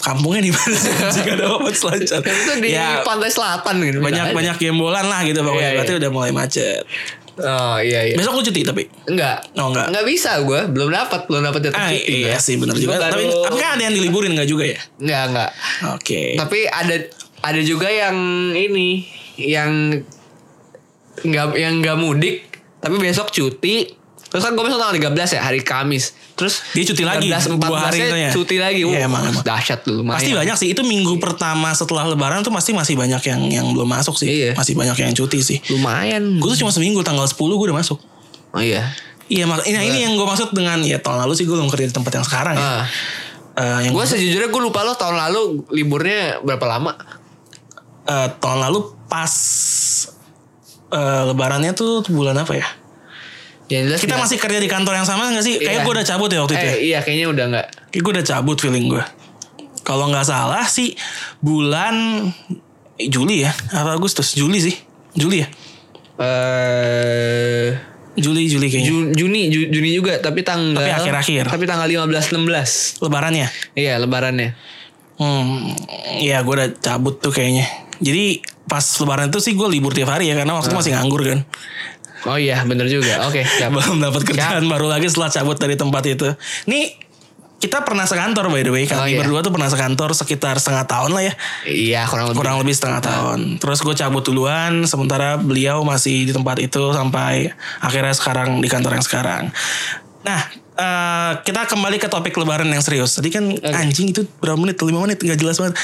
[SPEAKER 1] kampungnya di
[SPEAKER 2] <laughs>
[SPEAKER 1] mana jika ada apa selancar
[SPEAKER 2] Dan itu di
[SPEAKER 1] ya
[SPEAKER 2] pantai selatan gitu.
[SPEAKER 1] banyak
[SPEAKER 2] Bisa aja.
[SPEAKER 1] banyak gembolan lah gitu pokoknya
[SPEAKER 2] Iya, iya.
[SPEAKER 1] berarti udah mulai macet
[SPEAKER 2] Oh iya iya.
[SPEAKER 1] besok lu cuti tapi
[SPEAKER 2] Enggak.
[SPEAKER 1] Oh, enggak.
[SPEAKER 2] Enggak bisa gue, belum dapat, belum dapat
[SPEAKER 1] ah,
[SPEAKER 2] jatah cuti
[SPEAKER 1] iya
[SPEAKER 2] gua.
[SPEAKER 1] sih benar
[SPEAKER 2] Gua
[SPEAKER 1] juga tapi,
[SPEAKER 2] baru-
[SPEAKER 1] tapi kan ada yang diliburin nggak juga ya
[SPEAKER 2] enggak enggak.
[SPEAKER 1] Oke.
[SPEAKER 2] Tapi ada ada juga yang ini yang nggak yang nggak mudik tapi besok cuti Terus kan gue masuk tanggal 13 ya hari Kamis. Terus
[SPEAKER 1] Dia cuti lagi,
[SPEAKER 2] 13,
[SPEAKER 1] 2 hari itu
[SPEAKER 2] 14
[SPEAKER 1] ya.
[SPEAKER 2] nya cuti lagi. Wah,
[SPEAKER 1] Iya, emang, emang.
[SPEAKER 2] dahsyat tuh lumayan.
[SPEAKER 1] Pasti banyak sih. Itu minggu pertama setelah Lebaran tuh pasti masih banyak yang yang belum masuk sih.
[SPEAKER 2] Iya.
[SPEAKER 1] Masih banyak yang cuti sih.
[SPEAKER 2] Lumayan.
[SPEAKER 1] Gue tuh cuma seminggu tanggal 10 gue udah masuk.
[SPEAKER 2] Oh iya.
[SPEAKER 1] Iya, mak- nah, ini yang gue maksud dengan ya tahun lalu sih gue belum kerja di tempat yang sekarang ya.
[SPEAKER 2] Ah.
[SPEAKER 1] Eh, yang
[SPEAKER 2] Gue sejujurnya gue lupa lo tahun lalu liburnya berapa lama?
[SPEAKER 1] eh, tahun lalu pas eh, Lebarannya tuh bulan apa ya?
[SPEAKER 2] Yang jelas
[SPEAKER 1] Kita
[SPEAKER 2] nggak-
[SPEAKER 1] masih kerja di kantor yang sama gak sih? Kayaknya
[SPEAKER 2] Iya.
[SPEAKER 1] gue udah cabut ya waktu itu.
[SPEAKER 2] eh,
[SPEAKER 1] Ya.
[SPEAKER 2] iya kayaknya udah nggak.
[SPEAKER 1] Kayak gue udah cabut feeling gue. Kalau nggak salah sih bulan eh, Juli ya, apa Agustus? Juli sih, Juli ya,
[SPEAKER 2] Eh
[SPEAKER 1] Juli Juli kayaknya.
[SPEAKER 2] Ju- Juni Ju- Juni juga tapi tanggal
[SPEAKER 1] Tapi akhir-akhir.
[SPEAKER 2] Tapi tanggal 15 16.
[SPEAKER 1] Lebarannya.
[SPEAKER 2] Iya, lebarannya.
[SPEAKER 1] Hmm, ya gue udah cabut tuh kayaknya. Jadi pas Lebaran itu sih gue libur tiap hari ya karena waktu itu masih nganggur kan. <laughs>
[SPEAKER 2] Oh iya, bener juga. Oke, siap.
[SPEAKER 1] Belum dapat kerjaan baru lagi setelah cabut dari tempat itu. Nih kita pernah sekantor by the way kami
[SPEAKER 2] Oh, iya.
[SPEAKER 1] berdua tuh pernah sekantor sekitar setengah tahun lah ya
[SPEAKER 2] Iya, kurang lebih.
[SPEAKER 1] kurang lebih setengah tahun terus gue cabut duluan sementara beliau masih di tempat itu sampai akhirnya sekarang di kantor yang sekarang nah eh, kita kembali ke topik lebaran yang serius tadi kan anjing itu berapa menit 5 menit nggak jelas banget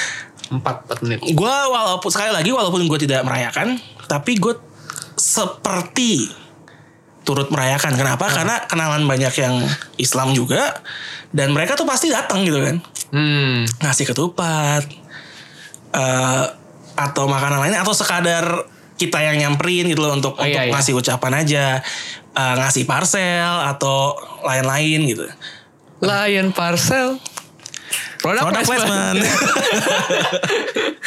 [SPEAKER 2] 4 4 menit.
[SPEAKER 1] gue walaupun sekali lagi walaupun gue tidak merayakan tapi gue seperti turut merayakan kenapa karena kenalan banyak yang Islam juga dan mereka tuh pasti datang gitu kan
[SPEAKER 2] Hmm.
[SPEAKER 1] ngasih ketupat eh, atau makanan lainnya atau sekadar kita yang nyamperin gitu loh untuk
[SPEAKER 2] Oh,
[SPEAKER 1] untuk
[SPEAKER 2] iya, iya.
[SPEAKER 1] ngasih ucapan aja eh, ngasih parcel atau lain-lain gitu
[SPEAKER 2] Lion parcel. Product,
[SPEAKER 1] Product
[SPEAKER 2] placement.
[SPEAKER 1] placement.
[SPEAKER 2] <laughs>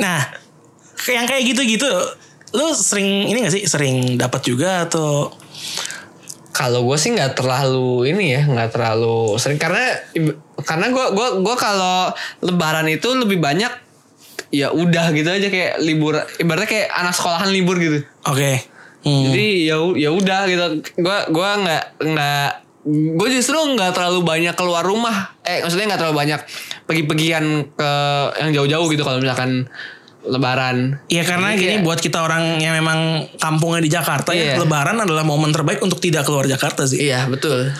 [SPEAKER 1] nah, kayak- yang kayak gitu-gitu, lu sering ini gak sih? Sering dapat juga atau
[SPEAKER 2] Kalau gue sih nggak terlalu ini ya, nggak terlalu sering karena karena gue gua gua kalau lebaran itu lebih banyak ya udah gitu aja kayak libur ibaratnya kayak anak sekolahan libur gitu.
[SPEAKER 1] oke? Hmm.
[SPEAKER 2] Jadi ya u- ya udah gitu. Gua gua nggak nggak gue justru nggak terlalu banyak keluar rumah. Eh maksudnya nggak terlalu banyak pergi-pergian ke yang jauh-jauh gitu kalau misalkan lebaran.
[SPEAKER 1] Ya karena
[SPEAKER 2] Jadi
[SPEAKER 1] gini
[SPEAKER 2] kayak-
[SPEAKER 1] buat kita orang yang memang kampungnya di Jakarta
[SPEAKER 2] Iya.
[SPEAKER 1] ya Lebaran adalah momen terbaik untuk tidak keluar Jakarta sih.
[SPEAKER 2] Iya betul.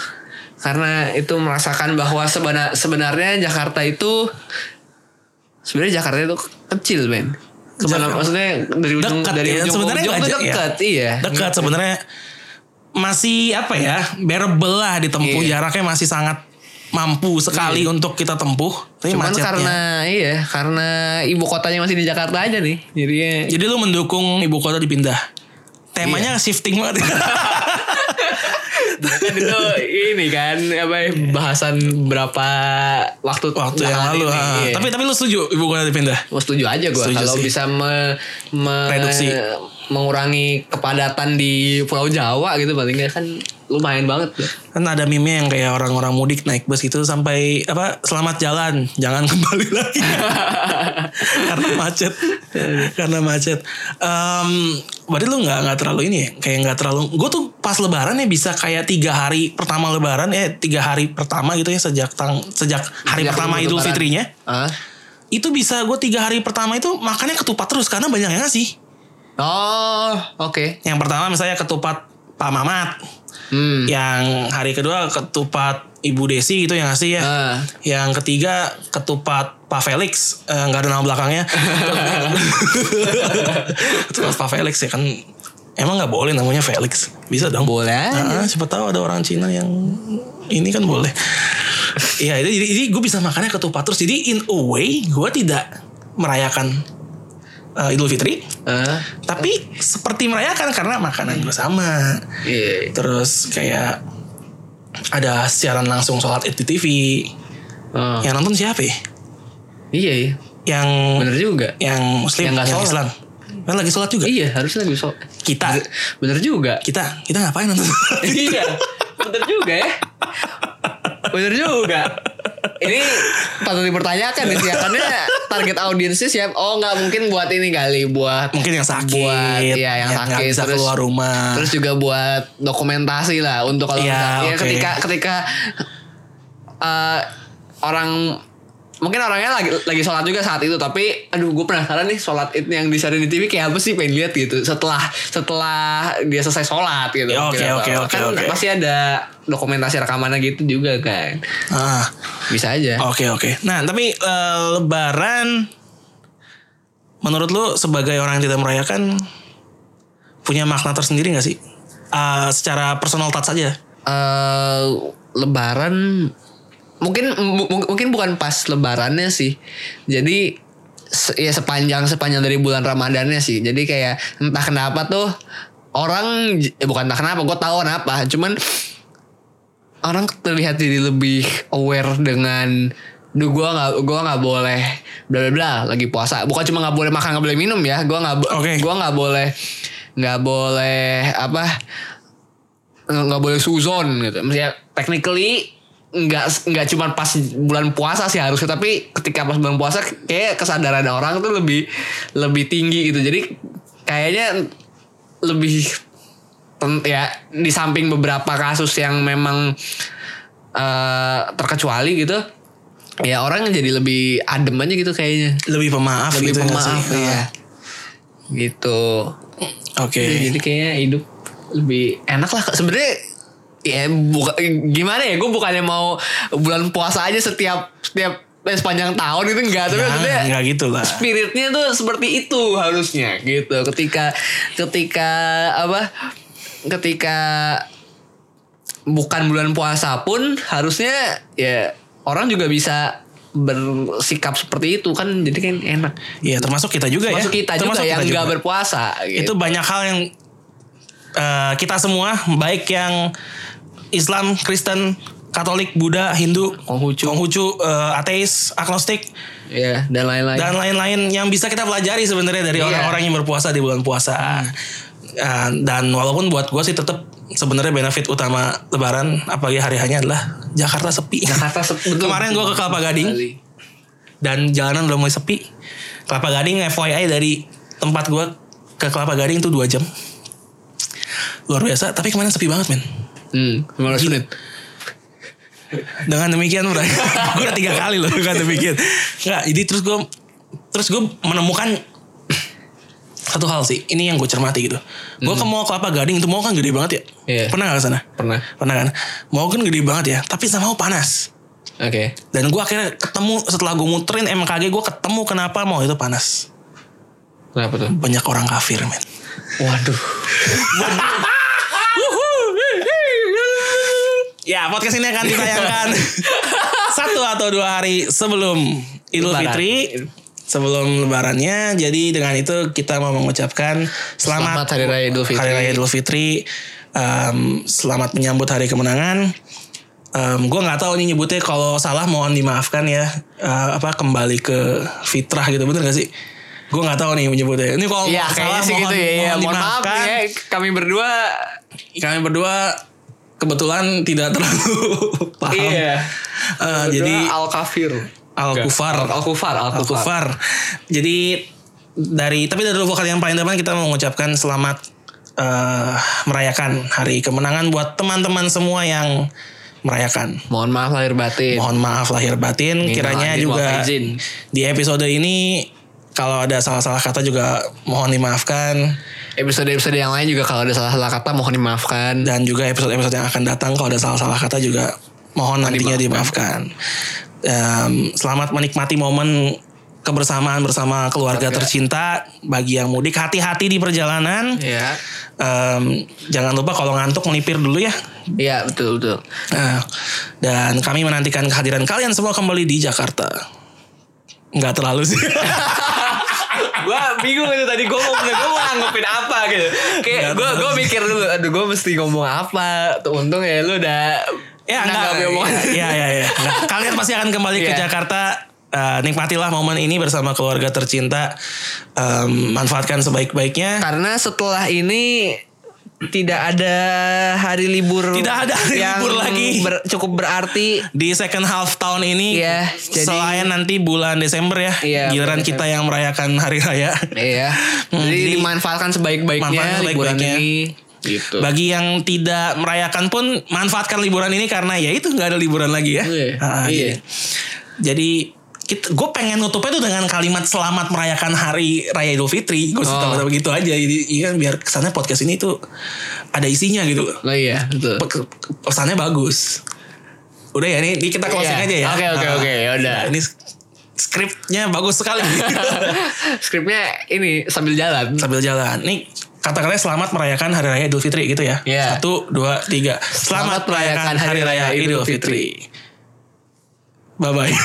[SPEAKER 2] Karena itu merasakan bahwa sebena- sebenarnya Jakarta itu sebenarnya Jakarta itu kecil men. Kemana-
[SPEAKER 1] Jakarta.
[SPEAKER 2] maksudnya dari ujung
[SPEAKER 1] Dekat
[SPEAKER 2] dari
[SPEAKER 1] ya,
[SPEAKER 2] ujung ke
[SPEAKER 1] sebenarnya
[SPEAKER 2] ujung
[SPEAKER 1] nggak
[SPEAKER 2] tuh
[SPEAKER 1] ja- ya.
[SPEAKER 2] dekat, iya.
[SPEAKER 1] Dekat sebenarnya masih apa ya? Bearable lah ditempuh
[SPEAKER 2] Iya.
[SPEAKER 1] jaraknya masih sangat mampu sekali untuk kita tempuh. Tapi
[SPEAKER 2] Cuman
[SPEAKER 1] macetnya.
[SPEAKER 2] karena iya karena ibu kotanya masih di Jakarta aja nih. Jadinya
[SPEAKER 1] Jadi lu mendukung ibu kota dipindah. Temanya
[SPEAKER 2] Iya.
[SPEAKER 1] shifting
[SPEAKER 2] <laughs>
[SPEAKER 1] banget. <laughs>
[SPEAKER 2] kan itu ini kan apa ya, bahasan berapa waktu iya.
[SPEAKER 1] Waktu yang lalu. ah. Tapi tapi lu setuju ibu kota dipindah?
[SPEAKER 2] Gua setuju aja gue
[SPEAKER 1] Setuju
[SPEAKER 2] kalau
[SPEAKER 1] sih.
[SPEAKER 2] bisa me, me-
[SPEAKER 1] Reduksi.
[SPEAKER 2] mengurangi kepadatan di Pulau Jawa gitu paling nggak kan lumayan
[SPEAKER 1] <laughs>
[SPEAKER 2] banget tuh.
[SPEAKER 1] Kan ada meme yang kayak orang-orang mudik naik bus itu sampai apa selamat jalan, jangan <laughs> kembali lagi. karena macet. karena macet. Em, berarti lu nggak nggak terlalu ini ya? Kayak nggak terlalu. Gue tuh pas Lebaran ya bisa kayak tiga hari pertama Lebaran eh tiga hari pertama gitu ya sejak tang sejak hari
[SPEAKER 2] Sejak
[SPEAKER 1] pertama
[SPEAKER 2] libur
[SPEAKER 1] Idul
[SPEAKER 2] Lebaran.
[SPEAKER 1] Fitrinya
[SPEAKER 2] Hah?
[SPEAKER 1] itu bisa gue tiga hari pertama itu makannya ketupat terus karena banyak yang ngasih.
[SPEAKER 2] Oh oke.
[SPEAKER 1] Yang pertama misalnya ketupat Pak Mamat.
[SPEAKER 2] Hmm.
[SPEAKER 1] Yang hari kedua ketupat Ibu Desi gitu yang ngasih ya.
[SPEAKER 2] Ah.
[SPEAKER 1] Yang ketiga ketupat Pak Felix Eh, nggak ada nama
[SPEAKER 2] <laughs>
[SPEAKER 1] belakangnya. ketupat Pak Felix ya kan emang nggak boleh namanya Felix. Bisa dong.
[SPEAKER 2] Boleh
[SPEAKER 1] Ah,
[SPEAKER 2] aja.
[SPEAKER 1] siapa tahu ada orang Cina yang ini kan boleh. Iya, jadi, jadi, jadi gue bisa makannya ketupat terus. Jadi in a way gue tidak merayakan eh, Idul Fitri,
[SPEAKER 2] Ah,
[SPEAKER 1] tapi seperti merayakan karena makanan gue sama
[SPEAKER 2] iya.
[SPEAKER 1] terus kayak ada siaran langsung sholat id di TV
[SPEAKER 2] Ah,
[SPEAKER 1] yang nonton siapa ya?
[SPEAKER 2] iya iya.
[SPEAKER 1] yang
[SPEAKER 2] Bener juga.
[SPEAKER 1] yang muslim
[SPEAKER 2] Yang
[SPEAKER 1] yang,
[SPEAKER 2] nggak sholat.
[SPEAKER 1] Islam kan lagi sholat juga
[SPEAKER 2] Iya harusnya lagi so.
[SPEAKER 1] kita
[SPEAKER 2] Bener juga.
[SPEAKER 1] kita kita ngapain
[SPEAKER 2] <laughs>
[SPEAKER 1] nonton sholat id?
[SPEAKER 2] iya bener juga ya bener juga ini patut dipertanyakan nih siapannya target audiensnya siap oh nggak mungkin buat ini kali buat
[SPEAKER 1] mungkin yang sakit
[SPEAKER 2] buat ya yang
[SPEAKER 1] nggak
[SPEAKER 2] sakit
[SPEAKER 1] bisa keluar rumah
[SPEAKER 2] terus juga buat dokumentasi lah untuk kalau
[SPEAKER 1] Ah.
[SPEAKER 2] ya,
[SPEAKER 1] Iya,
[SPEAKER 2] misalnya
[SPEAKER 1] oke.
[SPEAKER 2] ketika ketika eh, orang mungkin orangnya lagi lagi sholat juga saat itu tapi aduh gue penasaran nih sholat itu yang disarin di TV kayak apa sih pengen lihat gitu setelah setelah dia selesai sholat gitu
[SPEAKER 1] Ya, oke,
[SPEAKER 2] Mungkin
[SPEAKER 1] oke,
[SPEAKER 2] apa.
[SPEAKER 1] oke,
[SPEAKER 2] kan
[SPEAKER 1] oke.
[SPEAKER 2] pasti ada dokumentasi rekamannya gitu juga kan
[SPEAKER 1] Ah,
[SPEAKER 2] bisa aja
[SPEAKER 1] Oke oke. Nah tapi eh, Lebaran, menurut lu sebagai orang yang tidak merayakan punya makna tersendiri nggak sih? Ah, secara personal touch saja.
[SPEAKER 2] eh lebaran mungkin mu- mu- mungkin bukan pas lebarannya sih. Jadi se- ya sepanjang sepanjang dari bulan Ramadannya sih. Jadi kayak entah kenapa tuh orang j- eh, bukan entah kenapa, gue tahu kenapa. Cuman orang terlihat jadi lebih aware dengan Duh gue gak, gua gak boleh bla bla bla lagi puasa Bukan cuma gak boleh makan gak boleh minum ya Gue gak, bo-
[SPEAKER 1] Oke.
[SPEAKER 2] gua gak boleh Gak boleh apa nggak nggak boleh suzon gitu. Maksudnya technically nggak nggak cuma pas bulan puasa sih harusnya tapi ketika pas bulan puasa kayak kesadaran orang tuh lebih lebih tinggi gitu. Jadi kayaknya lebih ten- ya di samping beberapa kasus yang memang eh, terkecuali gitu ya orang jadi lebih adem aja gitu kayaknya
[SPEAKER 1] Lebih pemaaf
[SPEAKER 2] lebih
[SPEAKER 1] gitu nggak
[SPEAKER 2] pemaaf
[SPEAKER 1] sih?
[SPEAKER 2] ya gitu
[SPEAKER 1] Ah, Oke.
[SPEAKER 2] jadi kayaknya hidup lebih enak lah sebenarnya ya buka, gimana ya gue bukannya mau bulan puasa aja setiap setiap eh, sepanjang tahun itu enggak tapi maksudnya
[SPEAKER 1] Jangan nggak gitu lah.
[SPEAKER 2] spiritnya tuh seperti itu harusnya gitu ketika ketika apa ketika bukan bulan puasa pun harusnya ya orang juga bisa bersikap seperti itu kan jadi kan enak
[SPEAKER 1] Iya termasuk kita juga ya.
[SPEAKER 2] masuk kita juga
[SPEAKER 1] Termasuk
[SPEAKER 2] yang
[SPEAKER 1] kita
[SPEAKER 2] nggak
[SPEAKER 1] juga.
[SPEAKER 2] berpuasa gitu.
[SPEAKER 1] Itu banyak hal yang eh, kita semua baik yang Islam, Kristen, Katolik, Buddha, Hindu,
[SPEAKER 2] Konghucu.
[SPEAKER 1] Konghucu, eh, ateis, agnostik,
[SPEAKER 2] ya dan lain-lain
[SPEAKER 1] dan lain-lain yang bisa kita pelajari sebenarnya dari
[SPEAKER 2] Iya. Hmm.
[SPEAKER 1] orang-orang yang berpuasa di bulan puasa. Uh, dan walaupun buat gue sih tetap sebenarnya benefit utama Lebaran apalagi hari hanya adalah Jakarta sepi.
[SPEAKER 2] Jakarta sepi, betul.
[SPEAKER 1] <laughs> Kemarin gue ke Kelapa Gading
[SPEAKER 2] Kali.
[SPEAKER 1] dan jalanan udah mulai sepi. Kelapa Gading FYI dari tempat gue ke Kelapa Gading itu dua jam. Luar biasa, tapi kemarin sepi banget men.
[SPEAKER 2] Hmm,
[SPEAKER 1] Iya.
[SPEAKER 2] 15 menit.
[SPEAKER 1] dengan demikian <laughs> Bray gue udah tiga kali loh dengan demikian nggak jadi terus gue terus gue menemukan satu hal sih ini yang gue cermati gitu gue ke mall kelapa gading itu mall kan gede banget ya
[SPEAKER 2] Iya.
[SPEAKER 1] pernah gak ke sana
[SPEAKER 2] Pernah.
[SPEAKER 1] pernah kan mall kan gede banget ya tapi sama panas
[SPEAKER 2] Oke.
[SPEAKER 1] dan gue akhirnya ketemu setelah gue muterin MKG gue ketemu kenapa mall itu panas
[SPEAKER 2] Kenapa tuh?
[SPEAKER 1] banyak orang kafir men
[SPEAKER 2] Waduh.
[SPEAKER 1] Ya podcast ini akan
[SPEAKER 2] <laughs>
[SPEAKER 1] ditayangkan satu atau dua hari sebelum Idul
[SPEAKER 2] Lebaran.
[SPEAKER 1] Fitri, sebelum Lebarannya. Jadi dengan itu kita mau mengucapkan selamat,
[SPEAKER 2] Selamat Hari Raya Idul Fitri.
[SPEAKER 1] Hari Raya Idul Fitri. Em, selamat menyambut Hari Kemenangan. gue nggak tahu ini nyebutnya kalau salah mohon dimaafkan ya. Eh, apa kembali ke fitrah gitu bener gak sih? Gue nggak tahu nih nyebutnya. Ini kalau
[SPEAKER 2] Iya,
[SPEAKER 1] Oh, salah
[SPEAKER 2] kayaknya sih
[SPEAKER 1] mohon,
[SPEAKER 2] gitu ya. ya.
[SPEAKER 1] mohon
[SPEAKER 2] Mohon maaf
[SPEAKER 1] dimaafkan.
[SPEAKER 2] nih ya, kami berdua
[SPEAKER 1] Kami berdua kebetulan tidak terlalu <laughs> paham.
[SPEAKER 2] Iya.
[SPEAKER 1] Eh, jadi
[SPEAKER 2] al kafir.
[SPEAKER 1] Al-Kufar.
[SPEAKER 2] Al kufar, al
[SPEAKER 1] Al
[SPEAKER 2] kufar.
[SPEAKER 1] Kufar. Jadi dari tapi dari vokal yang paling depan kita mau mengucapkan selamat eh, merayakan hari kemenangan buat teman-teman semua yang merayakan.
[SPEAKER 2] Mohon maaf lahir batin.
[SPEAKER 1] Mohon maaf lahir batin.
[SPEAKER 2] Minal
[SPEAKER 1] Kiranya
[SPEAKER 2] aidin wal
[SPEAKER 1] juga
[SPEAKER 2] faizin.
[SPEAKER 1] di episode ini kalau ada salah-salah kata juga mohon dimaafkan
[SPEAKER 2] Episode-episode yang lain juga kalau ada salah-salah kata mohon dimaafkan.
[SPEAKER 1] dan juga episode-episode yang akan datang kalau ada salah-salah kata juga mohon nantinya dimaafkan. Em, selamat menikmati momen kebersamaan bersama keluarga
[SPEAKER 2] Keluarga.
[SPEAKER 1] tercinta bagi yang mudik hati-hati di perjalanan.
[SPEAKER 2] Iya.
[SPEAKER 1] Em, jangan lupa kalau ngantuk melipir dulu ya.
[SPEAKER 2] Iya, betul betul.
[SPEAKER 1] Nah, dan kami menantikan kehadiran kalian semua kembali di Jakarta. Nggak terlalu sih. <laughs>
[SPEAKER 2] gua bingung itu tadi gua mau gua mau nanggepin apa gitu. Kayak
[SPEAKER 1] Nggak
[SPEAKER 2] gua gua mikir dulu, aduh gua mesti ngomong apa. Tuh untung ya lu udah
[SPEAKER 1] ya enggak.
[SPEAKER 2] nanggapi omongan.
[SPEAKER 1] Iya iya iya. Nah, kalian pasti akan kembali ke
[SPEAKER 2] Nah, Iya.
[SPEAKER 1] Jakarta. Eh, nikmatilah momen ini bersama keluarga tercinta. Em, manfaatkan sebaik-baiknya.
[SPEAKER 2] Karena setelah ini tidak ada hari libur
[SPEAKER 1] Tidak ada hari
[SPEAKER 2] yang
[SPEAKER 1] libur lagi.
[SPEAKER 2] ber- cukup berarti
[SPEAKER 1] Di second half tahun ini,
[SPEAKER 2] Iya, jadi-
[SPEAKER 1] selain nanti bulan Desember ya,
[SPEAKER 2] Iya,
[SPEAKER 1] giliran
[SPEAKER 2] bulan
[SPEAKER 1] kita yang merayakan hari raya.
[SPEAKER 2] ya
[SPEAKER 1] Hmm,
[SPEAKER 2] jadi,
[SPEAKER 1] jadi
[SPEAKER 2] dimanfaatkan sebaik-baiknya
[SPEAKER 1] manfaatkan
[SPEAKER 2] liburan
[SPEAKER 1] sebaik-baiknya.
[SPEAKER 2] ini gitu
[SPEAKER 1] Bagi yang tidak merayakan pun manfaatkan liburan ini karena ya itu nggak ada liburan lagi ya.
[SPEAKER 2] Iya,
[SPEAKER 1] Ah, Jadi,
[SPEAKER 2] iya.
[SPEAKER 1] jadi kita gue pengen nutupnya tuh dengan kalimat selamat merayakan hari raya Idul Fitri gue sih
[SPEAKER 2] Oh.
[SPEAKER 1] tambah gitu aja jadi iya kan biar kesannya podcast ini tuh ada isinya gitu
[SPEAKER 2] Oh iya, betul.
[SPEAKER 1] Pe- pesannya bagus udah ya ini, ini kita closing
[SPEAKER 2] Iya.
[SPEAKER 1] aja ya
[SPEAKER 2] Oke, oke,
[SPEAKER 1] Ah.
[SPEAKER 2] oke, yaudah.
[SPEAKER 1] Nah, ini sk- skripnya bagus sekali
[SPEAKER 2] <laughs> <laughs> Skripnya ini sambil jalan.
[SPEAKER 1] sambil jalan nih katakanlah selamat merayakan hari raya Idul Fitri gitu ya
[SPEAKER 2] Iya.
[SPEAKER 1] satu dua tiga selamat,
[SPEAKER 2] Selamat merayakan
[SPEAKER 1] merayakan hari raya Idul Fitri bye bye <laughs>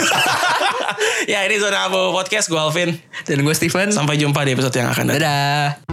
[SPEAKER 1] ya ini zona abu podcast gue Alvin
[SPEAKER 2] Dan gue Steven.
[SPEAKER 1] sampai jumpa di episode yang akan datang
[SPEAKER 2] Dadah.